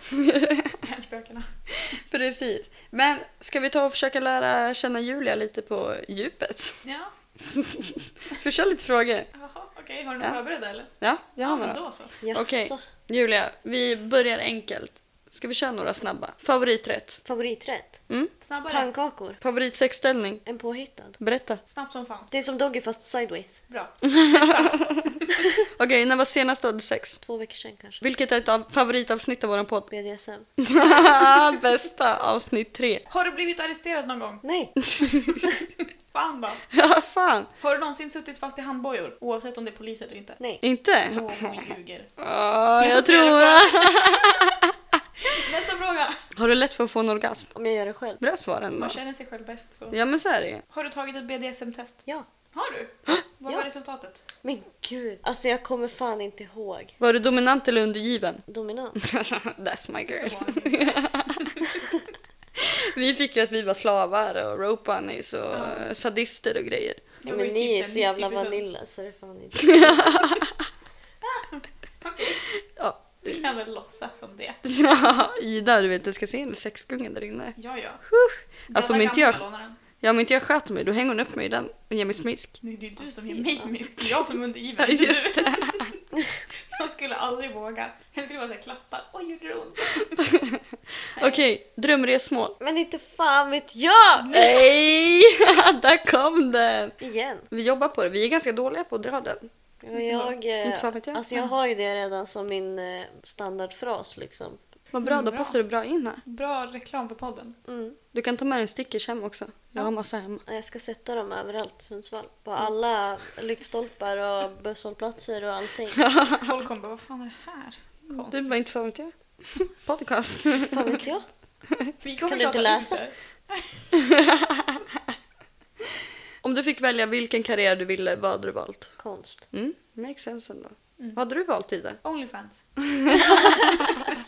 Speaker 4: Hjärnspökena.
Speaker 3: Precis. Men ska vi ta och försöka lära känna Julia lite på djupet?
Speaker 4: Ja,
Speaker 3: Så kör lite frågor.
Speaker 4: jaha, okej. Har du något
Speaker 3: Ja.
Speaker 4: förberett eller?
Speaker 3: Ja, jag har
Speaker 4: Ja, men
Speaker 3: några.
Speaker 4: då så.
Speaker 1: Jaså.
Speaker 3: Okej, Julia, vi börjar enkelt. Ska vi köra några snabba? Favoriträtt?
Speaker 1: Favoriträtt?
Speaker 3: Mm?
Speaker 4: Snabbare.
Speaker 1: Pannkakor?
Speaker 3: Favoritsexställning?
Speaker 1: En påhittad?
Speaker 3: Berätta.
Speaker 4: Snabbt som fan.
Speaker 1: Det är som Doggy fast sideways.
Speaker 4: Bra.
Speaker 3: Okej, när var senast du hade sex?
Speaker 1: Två veckor sedan kanske.
Speaker 3: Vilket är ett av favoritavsnitt av våran podd?
Speaker 1: BDSM.
Speaker 3: Bästa avsnitt tre.
Speaker 4: Har du blivit arresterad någon gång?
Speaker 1: Nej!
Speaker 4: Fan då.
Speaker 3: Ja, fan.
Speaker 4: Har du någonsin suttit fast i handbojor? Oavsett om det är polis eller inte.
Speaker 1: Nej.
Speaker 3: Inte?
Speaker 4: Åh, hon ljuger.
Speaker 3: Ah, jag
Speaker 4: Jag ser det
Speaker 3: tror...
Speaker 4: Nästa fråga.
Speaker 3: Har du lätt för att få en orgasm?
Speaker 1: Om jag gör det själv.
Speaker 3: Bra svar ändå.
Speaker 4: Man känner sig själv bäst så.
Speaker 3: Ja, men så är det ju.
Speaker 4: Har du tagit ett BDSM-test?
Speaker 1: Ja.
Speaker 4: Har du? Vad var
Speaker 1: Ja.
Speaker 4: resultatet?
Speaker 1: Men gud. Alltså jag kommer fan inte ihåg.
Speaker 3: Var du dominant eller undergiven?
Speaker 1: Dominant.
Speaker 3: That's my girl.
Speaker 4: Så vanligt.
Speaker 3: Vi fick ju att vi var slavar och rope bunnies och eh, sadister och grejer.
Speaker 4: Det var
Speaker 1: men
Speaker 4: ju
Speaker 1: ni är
Speaker 4: typ
Speaker 1: så
Speaker 4: såhär
Speaker 1: jävla
Speaker 4: 90%.
Speaker 1: vanilla så det är fan inte...
Speaker 4: Okej,
Speaker 3: Ja.
Speaker 4: vi kan väl låtsas som det.
Speaker 3: Ida, du vet du ska se en sexgunga där inne.
Speaker 4: Ja, ja.
Speaker 3: Alltså om
Speaker 4: Gamla,
Speaker 3: inte, jag,
Speaker 4: gamla lånaren.
Speaker 3: ja, om inte jag sköter mig, då hänger hon upp mig i den och ger mig smisk.
Speaker 4: Nej, det är du som ger mig smisk. Det är jag som är
Speaker 3: Ja,
Speaker 4: undergiven. inte du.
Speaker 3: just det.
Speaker 4: Jag skulle aldrig våga. Jag skulle bara säga klappa. Oj, gjorde det ont?
Speaker 3: Okej, drömresmål.
Speaker 1: Men inte fan vet jag!
Speaker 3: Nej, där kom den!
Speaker 1: Igen.
Speaker 3: Vi jobbar på det. Vi är ganska dåliga på att dra den.
Speaker 1: Ja, Jag, eh,
Speaker 3: Inte fan vet jag.
Speaker 1: Alltså jag har ju det redan som min eh, standardfras liksom.
Speaker 3: Vad bra, då
Speaker 4: Mm, bra.
Speaker 3: passar du bra in här.
Speaker 4: Bra reklam för podden.
Speaker 1: Mm.
Speaker 3: Du kan ta med en stickers hem också. Jag har massa hemma.
Speaker 1: Jag ska sätta dem överallt i Sundsvall. På alla lyktstolpar och busshållplatser och allting.
Speaker 4: Folk kommer bara, vad fan är det här?
Speaker 3: Du
Speaker 4: Konstigt.
Speaker 3: bara, inte fan vet jag. Podcast.
Speaker 1: Fan vet jag?
Speaker 4: Vi kommer
Speaker 1: Kan du inte
Speaker 4: tjata
Speaker 1: läsa?
Speaker 4: ut det.
Speaker 3: Om du fick välja vilken karriär du ville, vad hade du valt?
Speaker 1: Konst.
Speaker 3: Mm, makes sense ändå. Vad hade du valt Ida?
Speaker 4: Onlyfans.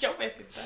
Speaker 4: jag vet inte.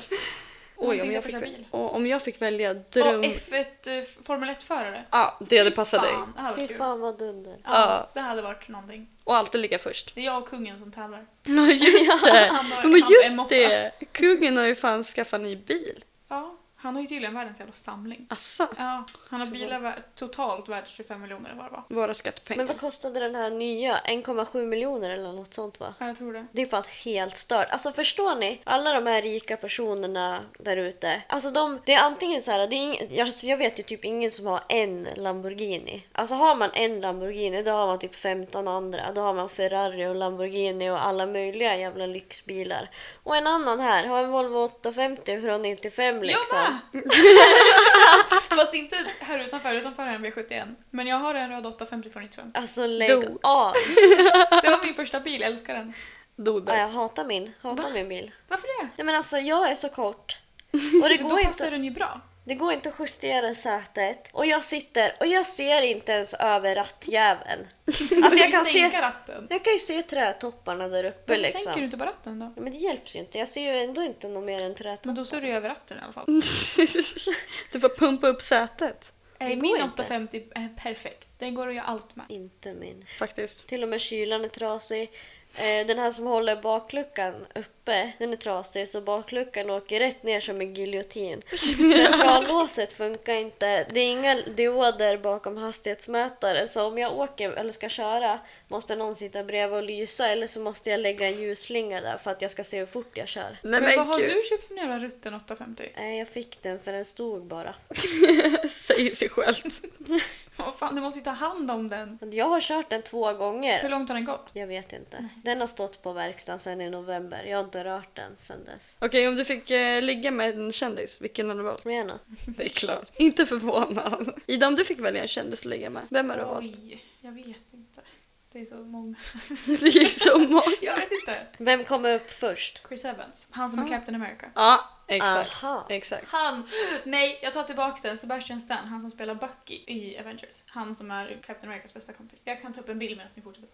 Speaker 3: Oj, om
Speaker 4: Någonting
Speaker 3: jag,
Speaker 4: jag
Speaker 3: fick,
Speaker 4: får köra
Speaker 3: väl-
Speaker 4: bil.
Speaker 3: Åh, om jag fick välja dröm...
Speaker 4: Och F1 eh, Formel 1-förare.
Speaker 3: Ja, det hade passat dig.
Speaker 4: Fan, det hade
Speaker 1: Fy
Speaker 4: varit kul.
Speaker 1: fan vad dunder.
Speaker 4: Ja, det hade varit någonting.
Speaker 3: Och alltid ligga först.
Speaker 4: Det är jag och kungen som tävlar.
Speaker 3: Ja, just det!
Speaker 4: Han har-
Speaker 3: Ja, men
Speaker 4: han har en
Speaker 3: just
Speaker 4: motta.
Speaker 3: det! Kungen har ju fan skaffat ny bil.
Speaker 4: Ja, han har ju tydligen världens jävla samling.
Speaker 3: Asså,
Speaker 4: Ja, han har bilar vär- totalt värda 25 miljoner eller vad det var.
Speaker 3: våra skattepengar.
Speaker 1: Men vad kostade den här nya? 1,7 miljoner eller något sånt va?
Speaker 4: Ja, jag tror det.
Speaker 1: Det är fan helt stört. Alltså förstår ni? Alla de här rika personerna där ute. Alltså de, det är antingen så här, det är ing, jag, alltså jag vet ju typ ingen som har en Lamborghini. Alltså har man en Lamborghini då har man typ 15 andra. Då har man Ferrari och Lamborghini och alla möjliga jävla lyxbilar. Och en annan här har en Volvo 850 från 95 liksom.
Speaker 4: Jag med! Fast inte här utanför, utanför är en V71. Men jag har en röd 850 från 95.
Speaker 1: Alltså lägg
Speaker 3: Do.
Speaker 1: av!
Speaker 4: Det var min första bil, jag älskar den.
Speaker 3: Då är
Speaker 1: Ja, jag
Speaker 3: bäst.
Speaker 1: hatar min, hatar min bil.
Speaker 4: Varför det?
Speaker 1: Nej men alltså jag är så kort. Och det
Speaker 4: Men då
Speaker 1: går inte Alltså,
Speaker 4: passar den ju bra.
Speaker 1: Det går inte att justera sätet och jag sitter och jag ser inte ens över rattjäveln. Alltså jag kan
Speaker 4: sänka
Speaker 1: se,
Speaker 4: ratten.
Speaker 1: jag kan ju se trädtopparna där uppe
Speaker 4: Varför sänker du
Speaker 1: liksom.
Speaker 4: inte bara ratten då?
Speaker 1: Ja, Men det hjälps ju inte, jag ser ju ändå inte något mer än trädtoppar.
Speaker 4: Men då ser du ju över ratten i alla
Speaker 1: Mm,
Speaker 4: fall.
Speaker 3: du får pumpa upp sätet.
Speaker 4: Eh,
Speaker 1: går
Speaker 4: Min
Speaker 1: inte.
Speaker 4: 850 är perfekt. Den går att göra allt med.
Speaker 1: Inte min.
Speaker 3: Faktiskt.
Speaker 1: Till och med kylan är trasig. Eh, Den här som håller bakluckan uppe, den är trasig så bakluckan åker rätt ner som en giljotin. Centrallåset funkar inte. Det är inga dioder bakom hastighetsmätare så om jag åker eller ska köra måste någon sitta bredvid och lysa eller så måste jag lägga en ljusslinga där för att jag ska se hur fort jag kör.
Speaker 3: Nej,
Speaker 4: men vad
Speaker 3: men
Speaker 4: har
Speaker 3: gud,
Speaker 4: du köpt för en jävla rutten 850?
Speaker 1: Nej, jag fick den för den stod bara.
Speaker 3: säger sig självt.
Speaker 4: Vad fan, du måste ju ta hand om den.
Speaker 1: Jag har kört den två
Speaker 4: Hur
Speaker 1: gånger.
Speaker 4: långt har den gått?
Speaker 1: Jag vet inte. Den har stått på verkstaden sedan i november. Jag har inte rört den sedan dess.
Speaker 3: Okej, om du fick eh, ligga med en kändis, vilken hade du valt?
Speaker 1: Kom igen då.
Speaker 3: Det är klart. Inte förvånad. Ida, om du fick välja en kändis att ligga med, vem hade du valt?
Speaker 4: Oj, jag vet inte. Det är så många.
Speaker 3: Det gick så många.
Speaker 4: Jag vet inte.
Speaker 1: Vem kommer upp först?
Speaker 4: Chris Evans. Han som är Captain America.
Speaker 3: Ja, exakt.
Speaker 1: Aha.
Speaker 3: Exakt.
Speaker 4: Han! Nej, jag tar tillbaka den. Sebastian Stan, han som spelar Bucky i Avengers. Han som är Captain Americas bästa kompis. Jag kan ta upp en bild medan ni fortsätter.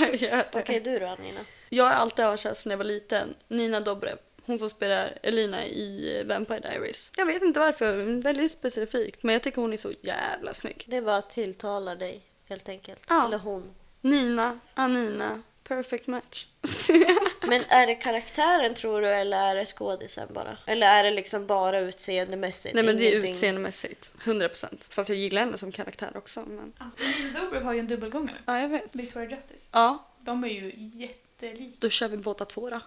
Speaker 3: Jag gör det.
Speaker 1: Okej, du då Anina?
Speaker 3: Jag har alltid avundsjuk sedan jag var liten. Nina Dobre. Hon som spelar Elina i Vampire Diaries. Jag vet inte varför, väldigt specifikt. Men jag tycker hon är så jävla snygg.
Speaker 1: Det bara tilltalar dig helt enkelt.
Speaker 3: Ja.
Speaker 1: Eller hon.
Speaker 3: Nina, Anina, perfect match.
Speaker 1: Men är det karaktären tror du eller är det skådisen bara? Eller är det liksom bara utseendemässigt?
Speaker 3: Nej men det är
Speaker 1: Ingenting-
Speaker 3: utseendemässigt. 100%. Fast jag gillar henne som karaktär också. Men...
Speaker 4: Alltså, Nina Dobrev har ju en dubbelgångare.
Speaker 3: Ja, jag vet.
Speaker 4: Victoria Justice.
Speaker 3: Ja,
Speaker 4: De är ju jättelika.
Speaker 3: då kör vi båda två då.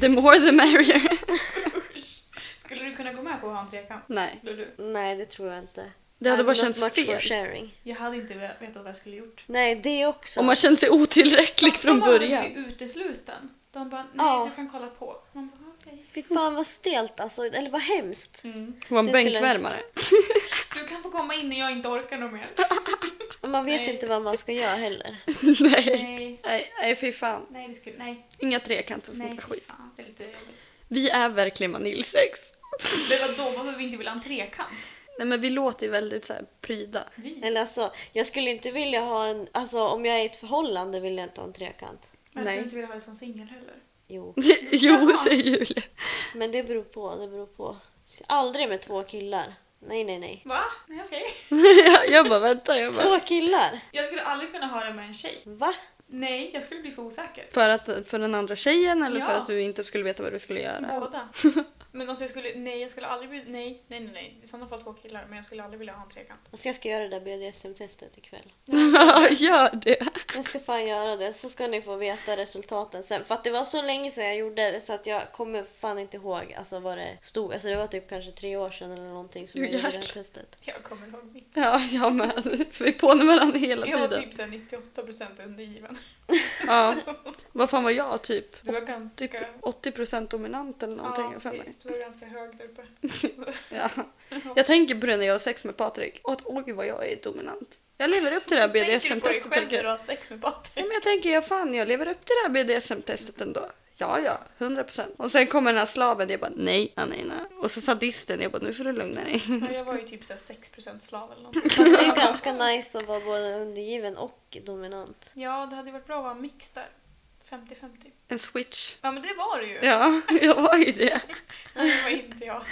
Speaker 3: The more the merrier.
Speaker 4: Usch. Skulle du kunna gå med på att ha en trekant?
Speaker 3: Nej,
Speaker 4: Skulle du?
Speaker 1: Nej, det tror jag inte.
Speaker 3: det hade
Speaker 1: I'm
Speaker 3: bara
Speaker 1: not
Speaker 3: känts
Speaker 1: much for
Speaker 3: fel.
Speaker 1: sharing.
Speaker 4: Jag hade inte ve- vetat vad jag skulle gjort.
Speaker 1: Nej, det också.
Speaker 3: Om man känner sig otillräcklig
Speaker 4: de
Speaker 3: från
Speaker 4: bara,
Speaker 3: början.
Speaker 4: Du är utesluten. De bara, nej
Speaker 1: Ja.
Speaker 4: du kan kolla på. Man bara, okej.
Speaker 1: Fy fan vad stelt alltså. Eller vad hemskt.
Speaker 4: Mm.
Speaker 3: Hon var en
Speaker 1: Det skulle-
Speaker 3: bänkvärmare.
Speaker 4: Du kan få komma in när jag inte orkar något mer.
Speaker 1: Och man vet
Speaker 4: Nej.
Speaker 1: inte vad man ska göra heller.
Speaker 3: Nej.
Speaker 4: Nej.
Speaker 3: Nej, nej fy fan.
Speaker 4: Nej, det skulle, nej,
Speaker 3: Inga trekanter och sånt
Speaker 4: nej,
Speaker 3: där
Speaker 4: fy
Speaker 3: skit.
Speaker 4: fan. Det är lite jobbigt.
Speaker 3: Vi är verkligen vaniljsex.
Speaker 4: Det var då varför vi inte ville ha en trekant.
Speaker 3: Nej men vi låter ju väldigt så här pryda.
Speaker 4: Vi.
Speaker 1: Eller alltså, jag skulle inte vilja ha en... Alltså om jag är i ett förhållande vill jag inte ha en trekant.
Speaker 4: Men jag
Speaker 3: Nej.
Speaker 4: skulle inte vilja ha det som singel heller.
Speaker 1: Jo,
Speaker 3: jo, säger Julia.
Speaker 1: men det beror på. Det beror på. Aldrig med två killar. Nej, nej, nej.
Speaker 4: Va? Nej, okej.
Speaker 3: jag, jag bara vänta, jag bara.
Speaker 1: Två killar?
Speaker 4: Jag skulle aldrig kunna ha det med en tjej.
Speaker 1: Va?
Speaker 4: Nej, jag skulle bli för osäker.
Speaker 3: För, att, för den andra tjejen eller för
Speaker 4: Ja.
Speaker 3: att du inte skulle veta vad du skulle göra?
Speaker 4: Båda. Men alltså jag skulle, nej jag skulle aldrig bli, nej, nej, nej, nej. I sådana fall två killar, men jag skulle aldrig vilja ha en trekant.
Speaker 1: Alltså jag ska göra det där BDSM-testet ikväll.
Speaker 3: Gör det!
Speaker 1: Jag ska fan göra det, så ska ni få veta resultaten sen. För att det var så länge sedan jag gjorde det så att jag kommer fan inte ihåg alltså, vad det stod. Alltså det var typ kanske tre år sedan eller någonting som
Speaker 3: Jo,
Speaker 1: jag gjorde det här
Speaker 3: jäklar.
Speaker 1: testet.
Speaker 4: Jag kommer ihåg mitt.
Speaker 3: Ja, jag med. För vi är på med varandra hela
Speaker 4: Jag var
Speaker 3: tiden.
Speaker 4: typ såhär 98% undergiven.
Speaker 3: Ja. Vad fan var jag typ?
Speaker 4: Du var ganska...
Speaker 3: Typ 80% dominant eller någonting. jag har
Speaker 4: ja, typ.
Speaker 3: för mig.
Speaker 4: precis. Du var ganska hög där uppe.
Speaker 3: Ja. Jag tänker på det när jag har sex med Patrik. Och att oj vad jag är dominant. Jag lever upp till det här
Speaker 4: Tänker du
Speaker 3: BDSM-testet.
Speaker 4: på dig själv när
Speaker 3: tänker
Speaker 4: du
Speaker 3: jag.
Speaker 4: har sex med Patrik?
Speaker 3: Ja, men jag tänker, ja fan, jag lever upp till det här BDSM-testet ändå. Ja, ja, 100 procent. Och sen kommer den här slaven, jag bara nej, ja, nej, nej. Och så sadisten, jag bara nu får du lugna dig.
Speaker 4: Ja, jag var ju typ så här 6% slav eller någonting.
Speaker 1: Fast det är ju ganska nice att vara både undergiven och dominant.
Speaker 4: Ja, det hade ju varit bra att vara en mix där. 50-50.
Speaker 3: En switch.
Speaker 4: Ja, men det var det ju.
Speaker 3: Ja, jag var ju det.
Speaker 4: Men det var inte jag.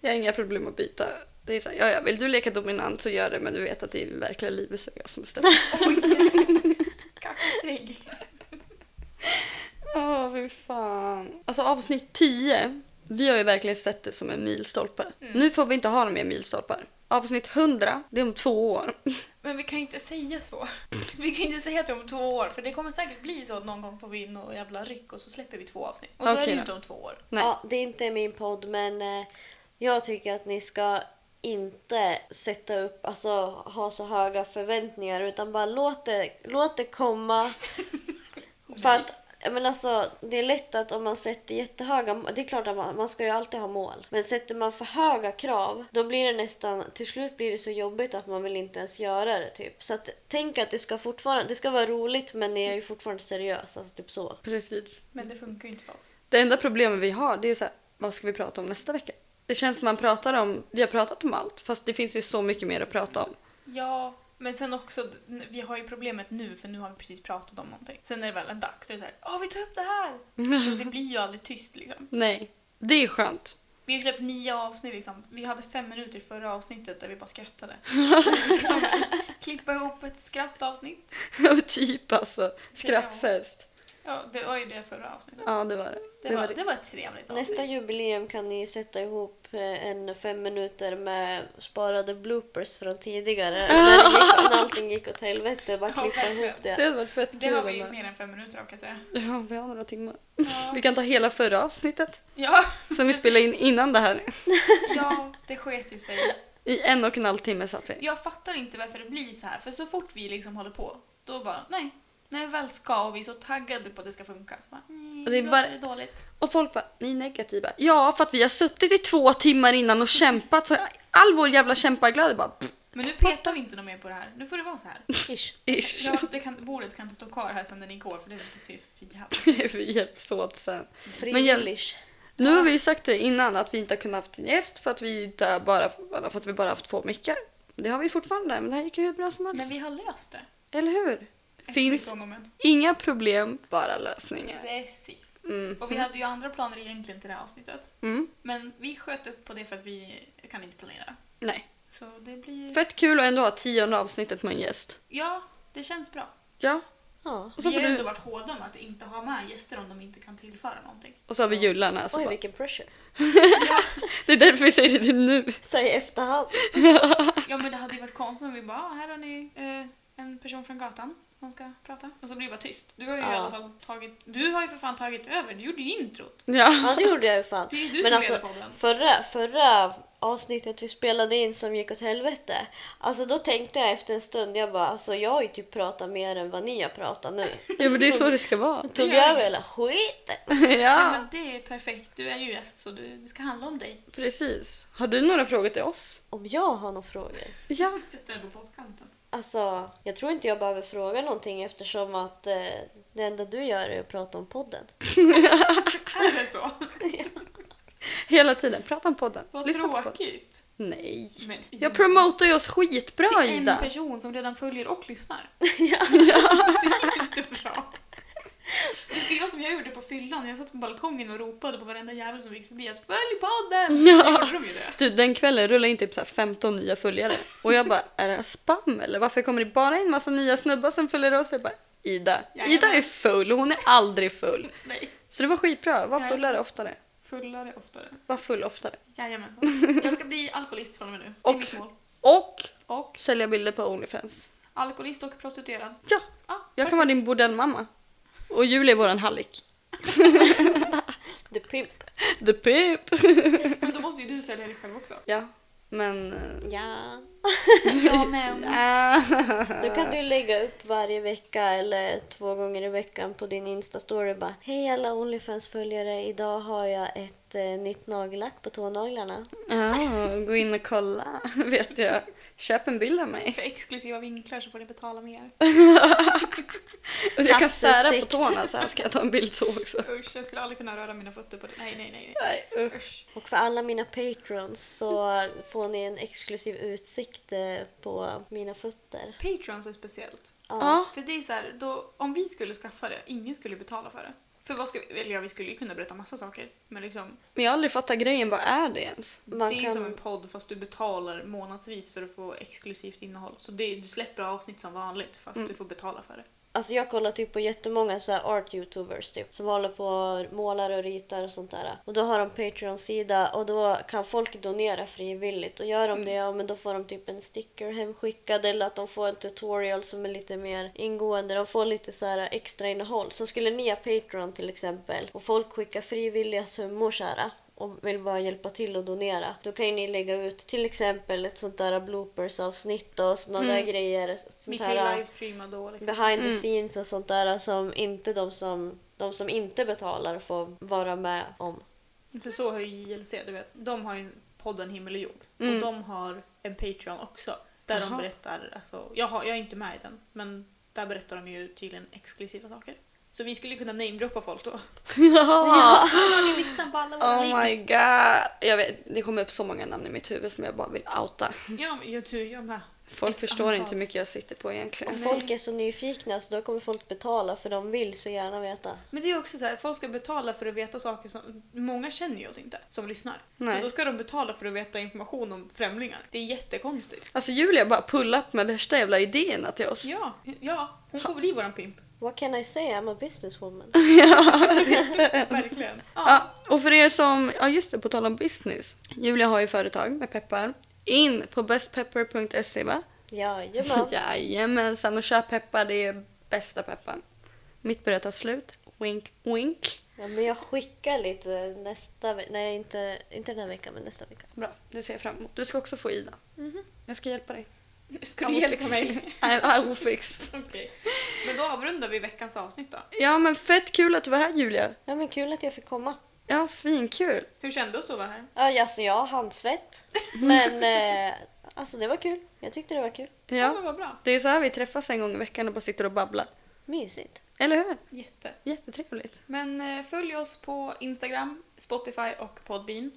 Speaker 3: Jag har inga problem att byta. Det är så här, ja, ja, vill du leka dominant så gör det, men du vet att det i verkliga livet så är jag som bestämmer.
Speaker 4: Oj! Kaxig.
Speaker 3: Åh, fy fan. Alltså avsnitt 10, vi har ju verkligen sett det som en milstolpe.
Speaker 4: Mm.
Speaker 3: Nu får vi inte ha mer milstolpar. Avsnitt 100, det är om två år.
Speaker 4: Men vi kan ju inte säga så. Vi kan ju inte säga att det är om två år, för det kommer säkert bli så att någon gång får vi in och jävla ryck och så släpper vi två avsnitt. Och då är
Speaker 3: Okej
Speaker 4: det ju
Speaker 3: då.
Speaker 4: inte om två år.
Speaker 3: Nej.
Speaker 1: Ja, det är inte min podd men eh, jag tycker att ni ska inte sätta upp, alltså ha så höga förväntningar utan bara låt det, låt det komma. För att, men alltså, det är lätt att om man sätter jättehöga mål, det är klart att man, man ska ju alltid ha mål. Men sätter man för höga krav, då blir det nästan, till slut blir det så jobbigt att man vill inte ens göra det typ. Så att, tänk att det ska fortfarande, det ska vara roligt men ni är ju fortfarande seriösa, alltså typ så.
Speaker 3: Precis.
Speaker 4: Men det funkar ju inte för oss.
Speaker 3: Det enda problemet vi har det är så här, vad ska vi prata om nästa vecka? Det känns som man pratar om, vi har pratat om allt, fast det finns ju så mycket mer att prata om.
Speaker 4: Ja, men sen också, vi har ju problemet nu för nu har vi precis pratat om någonting. Sen är det väl en dags, så är det såhär ”Åh, vi tar upp det här!” Så det blir ju aldrig tyst liksom.
Speaker 3: Nej, det är skönt.
Speaker 4: Vi har släppt nio avsnitt liksom. Vi hade fem minuter i förra avsnittet där vi bara skrattade. Klippa ihop ett skrattavsnitt.
Speaker 3: Och typ alltså, skrattfest.
Speaker 4: Ja, det var ju det förra avsnittet.
Speaker 3: Ja, det var det.
Speaker 4: Det var, det var ett trevligt avsnitt.
Speaker 1: Nästa jubileum kan ni ju sätta ihop eh, en fem minuter med sparade bloopers från tidigare. När, det gick, när allting gick åt helvete, bara
Speaker 4: Ja,
Speaker 1: klippa
Speaker 4: verkligen.
Speaker 1: ihop
Speaker 3: Det
Speaker 1: det.
Speaker 3: hade varit fett
Speaker 4: Det
Speaker 3: kul
Speaker 4: har
Speaker 3: om
Speaker 4: vi ju
Speaker 3: det.
Speaker 4: mer än fem minuter av kan jag säga.
Speaker 3: Ja, vi har några timmar. Vi
Speaker 4: Ja,
Speaker 3: kan ta hela förra avsnittet
Speaker 4: ja,
Speaker 3: som vi spelade in innan det här.
Speaker 4: ja det sket ju sig.
Speaker 3: I en och en halv timme satt vi.
Speaker 4: Jag fattar inte varför det blir så här. För så fort vi liksom håller på, då bara nej. När vi väl ska och vi är så taggade på att det ska funka. Så bara, nej,
Speaker 3: Och det är
Speaker 4: nu
Speaker 3: bara-
Speaker 4: låter det dåligt.
Speaker 3: Och folk bara, ni är negativa. Ja, för att vi har suttit i två timmar innan och kämpat så all vår jävla kämpaglöd bara pff,
Speaker 4: Men nu petar vi inte något mer på det här. Nu får det vara så här.
Speaker 1: Ish.
Speaker 3: ish.
Speaker 4: Ja, det kan, bordet kan inte stå kvar här sen den gick år för det ser så för jävligt ut.
Speaker 3: Vi hjälps åt sen. Men jag-
Speaker 1: Frielish.
Speaker 3: Nu har vi ju sagt det innan att vi inte har kunnat haft en gäst för att vi, inte har bara, för att vi bara haft två mickar. Det har vi fortfarande, men det här gick ju hur bra som helst.
Speaker 4: Men vi har löst det.
Speaker 3: Eller hur?
Speaker 4: Efter
Speaker 3: Finns
Speaker 4: gång om en.
Speaker 3: inga problem, bara lösningar.
Speaker 4: Precis.
Speaker 3: Mm.
Speaker 4: Och vi hade ju andra planer egentligen till det här avsnittet.
Speaker 3: Mm.
Speaker 4: Men vi sköt upp på det för att vi kan inte planera.
Speaker 3: Nej.
Speaker 4: Så det blir...
Speaker 3: Fett kul att ändå ha tionde avsnittet med en gäst.
Speaker 4: Ja, det känns bra.
Speaker 3: Ja.
Speaker 1: Ja.
Speaker 3: Och så,
Speaker 4: vi
Speaker 3: får
Speaker 4: har ju ändå
Speaker 3: du,
Speaker 4: varit hårda med att inte ha med gäster om de inte kan tillföra någonting.
Speaker 3: och så har vi Jullan här. Så
Speaker 1: Oj,
Speaker 3: bara,
Speaker 1: vilken pressure.
Speaker 3: det är därför vi säger det nu.
Speaker 1: Säg i efterhand.
Speaker 4: Ja men det hade ju varit konstigt om vi bara "Ah, här har ni eh, en person från gatan som ska prata. Och så blir det bara tyst. Du har ju
Speaker 1: Ja.
Speaker 4: i alla fall tagit... Du har ju för fan tagit över. Du gjorde ju introt.
Speaker 1: Ja,
Speaker 3: Ja.
Speaker 1: det gjorde jag ju fan.
Speaker 4: Det är ju du
Speaker 1: Men
Speaker 4: som
Speaker 1: alltså,
Speaker 4: leder podden.
Speaker 1: förra, förra avsnittet vi spelade in som gick åt helvete. Alltså då tänkte jag efter en stund, jag bara alltså jag har ju typ pratat mer än vad ni har pratat nu.
Speaker 3: ja, men det är så det ska vara.
Speaker 1: Tog
Speaker 4: Det gör
Speaker 1: över
Speaker 4: inget.
Speaker 1: hela skiten.
Speaker 4: Ja,
Speaker 3: Ja,
Speaker 4: men det är perfekt. Du är ju gäst så du, det ska handla om dig.
Speaker 3: precis. Har du några frågor till oss?
Speaker 1: Om jag har några frågor?
Speaker 3: Ja.
Speaker 4: Sätter dig på poddkanten.
Speaker 1: Alltså, jag tror inte jag behöver fråga någonting eftersom att eh, det enda du gör är att prata om podden.
Speaker 4: Är det så?
Speaker 3: Hela tiden. Prata om podden.
Speaker 4: Vad
Speaker 3: Lyssna på podden.
Speaker 4: tråkigt.
Speaker 3: Nej.
Speaker 4: Men,
Speaker 3: Jag promotar ju oss skitbra
Speaker 4: till en
Speaker 3: Ida.
Speaker 4: person som redan följer och lyssnar.
Speaker 1: ja.
Speaker 4: Det är inte bra. Det ska jag som jag gjorde på fyllan. Jag satt på balkongen och ropade på varenda jävel som gick förbi att följ podden!
Speaker 3: Ja.
Speaker 4: Ja. Gjorde de ju det?
Speaker 3: Du, den kvällen rullade in typ så här 15 nya följare. Och jag bara, är det här spam eller varför kommer det bara in massa nya snubbar som följer oss? Jag bara, Ida.
Speaker 4: Jajamän.
Speaker 3: Ida är full, hon är aldrig full.
Speaker 4: Nej.
Speaker 3: Så det var skitbra. Var
Speaker 4: Ja.
Speaker 3: fullare oftare.
Speaker 4: Fullare oftare.
Speaker 3: Var full oftare.
Speaker 4: Jajamensan. Jag ska bli alkoholist från och med nu. Det är
Speaker 3: Och-
Speaker 4: mitt mål.
Speaker 3: Och
Speaker 4: Och
Speaker 3: sälja bilder på Onlyfans.
Speaker 4: alkoholist och prostituerad.
Speaker 3: Ja,
Speaker 4: Ah,
Speaker 3: jag kan vara din bordellmamma. Och Julie är våran hallick.
Speaker 1: The Pimp.
Speaker 3: The pip!
Speaker 4: Men då måste ju du sälja dig själv också.
Speaker 3: Ja, men eh,
Speaker 1: Ja.
Speaker 4: Jag med.
Speaker 1: Då kan du lägga upp varje vecka eller två gånger i veckan på din Insta-story bara Hej alla Onlyfans-följare, idag har jag ett eh, nytt nagellack på tånaglarna.
Speaker 3: Ja, gå in och kolla, vet jag. Köp en bild av mig.
Speaker 4: För exklusiva vinklar så får ni betala mer.
Speaker 3: Och jag kan Alltså, sära på
Speaker 1: Havsutsikt.
Speaker 3: tårna så här ska jag ta en bild så också.
Speaker 4: Usch, jag skulle aldrig kunna röra mina fötter på det. Nej, nej, nej.
Speaker 3: Nej, usch.
Speaker 4: nej. Usch.
Speaker 1: Och för alla mina patrons så får ni en exklusiv utsikt eh, på mina fötter.
Speaker 4: Patrons är speciellt.
Speaker 3: Ja.
Speaker 4: För det är så här, då, om vi skulle skaffa det, ingen skulle betala för det. För vad ska vi, eller ja, vi skulle ju kunna berätta massa saker. Men liksom,
Speaker 3: Men jag har aldrig fattat grejen, vad är det ens?
Speaker 1: Man
Speaker 4: det är ju
Speaker 1: kan-
Speaker 4: som en podd fast du betalar månadsvis för att få exklusivt innehåll. Så det, du släpper avsnitt som vanligt fast
Speaker 1: Mm.
Speaker 4: du får betala för det.
Speaker 1: Alltså jag kollar typ på jättemånga så här art youtubers typ, som håller på och målar och ritar och sånt där. Och då har de Patreon-sida och då kan folk donera frivilligt. Och gör
Speaker 4: Mm.
Speaker 1: de det, ja men då får de typ en sticker hemskickad eller att de får en tutorial som är lite mer ingående. De får lite så här extra innehåll. Så skulle ni ha Patreon till exempel och folk skickar frivilliga summor så här och vill bara hjälpa till och donera. Då kan ju ni lägga ut till exempel ett sånt där bloopers-avsnitt och såna där grejer.
Speaker 4: Mm. Vi
Speaker 1: Sånt
Speaker 4: kan ju
Speaker 1: här- äh,
Speaker 4: livestreama då. Liksom.
Speaker 1: behind the scenes och sånt där som inte de som, de som inte betalar får vara med om.
Speaker 4: För så har ju JLC, du vet, de har ju podden Himmel och Jord. Och de har en Patreon också. Där
Speaker 3: Mm. Jaha.
Speaker 4: de berättar, alltså, jag, har, jag är inte med i den, men där berättar de ju tydligen exklusiva saker. Så vi skulle kunna namedroppa folk då.
Speaker 1: Ja.
Speaker 4: Har ni listan på alla våra
Speaker 3: Oh
Speaker 4: link?
Speaker 3: my god. Jag vet, det kommer upp så många namn i mitt huvud som jag bara vill outa.
Speaker 4: Ja, men jag tror jag med.
Speaker 3: Folk
Speaker 4: X
Speaker 3: förstår
Speaker 4: antal.
Speaker 3: inte hur mycket jag sitter på egentligen.
Speaker 4: Nej.
Speaker 1: Folk är så nyfikna så då kommer folk betala för de vill så gärna veta.
Speaker 4: Men det är också så här, folk ska betala för att veta saker som... Många känner ju oss inte, som lyssnar.
Speaker 3: Nej.
Speaker 4: Så då ska de betala för att veta information om främlingar. Det är jättekonstigt.
Speaker 3: Alltså Julia bara pull up med värsta jävla idéerna till oss.
Speaker 4: Ja, ja, hon får bli våran pimp.
Speaker 1: What can I say? I'm a businesswoman.
Speaker 4: Verkligen. Ja.
Speaker 3: Ja, och för er som, ja just det, på tal om business. Julia har ju företag med peppar. In på bestpepper.se va?
Speaker 1: Jajamän.
Speaker 3: Jajamensan och köp peppar, det är bästa pepparn. Mitt börjar ta slut. Wink wink.
Speaker 1: Ja, men jag skickar lite nästa vecka. Nej, inte, inte den här veckan men nästa vecka.
Speaker 3: Bra, det ser jag fram emot. Du ska också få Ida. Jag ska hjälpa dig.
Speaker 4: Ska Mhm. du hjälpa mig?
Speaker 3: I will fix.
Speaker 4: Okej. Men då avrundar vi veckans avsnitt då.
Speaker 3: Ja men fett kul att du var här Julia.
Speaker 1: Ja men kul att jag fick komma.
Speaker 3: Ja, svinkul.
Speaker 4: Hur kändes det att vara här?
Speaker 1: Ja, alltså jag har handsvett. Men eh, alltså det var kul. Jag tyckte det var kul.
Speaker 4: Ja. men
Speaker 3: Ja.
Speaker 4: vad bra.
Speaker 3: Det är så här vi träffas en gång i veckan och bara sitter och babblar.
Speaker 1: Mysigt.
Speaker 3: Eller hur?
Speaker 4: Jätte.
Speaker 3: Jättetrevligt.
Speaker 4: Men eh, följ oss på Instagram, Spotify och Podbean.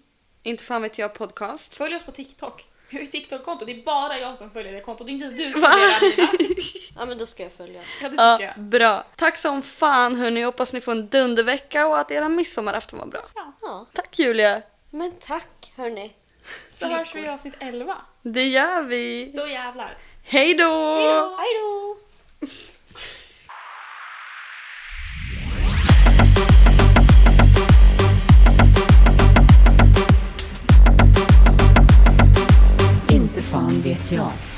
Speaker 3: Inte fan vet jag podcast.
Speaker 4: Följ oss på TikTok. Vi har ju TikTok-konto, det är bara jag som följer det kontot. Det är inte ens du som
Speaker 3: Va?
Speaker 4: följer det, Amina.
Speaker 1: Ja men då ska jag följa.
Speaker 4: Ja, det tycker
Speaker 3: Ja,
Speaker 4: jag.
Speaker 3: bra. Tack som fan hörni. Hoppas ni får en dundervecka och att era midsommarafton var bra.
Speaker 4: Ja.
Speaker 1: Ja,
Speaker 3: Tack Julia.
Speaker 1: men tack hörni.
Speaker 4: Så hörs vi i avsnitt 11.
Speaker 3: Det gör vi.
Speaker 4: Då jävlar.
Speaker 3: Hej då!
Speaker 1: Hej då!
Speaker 2: Inte fan vet jag.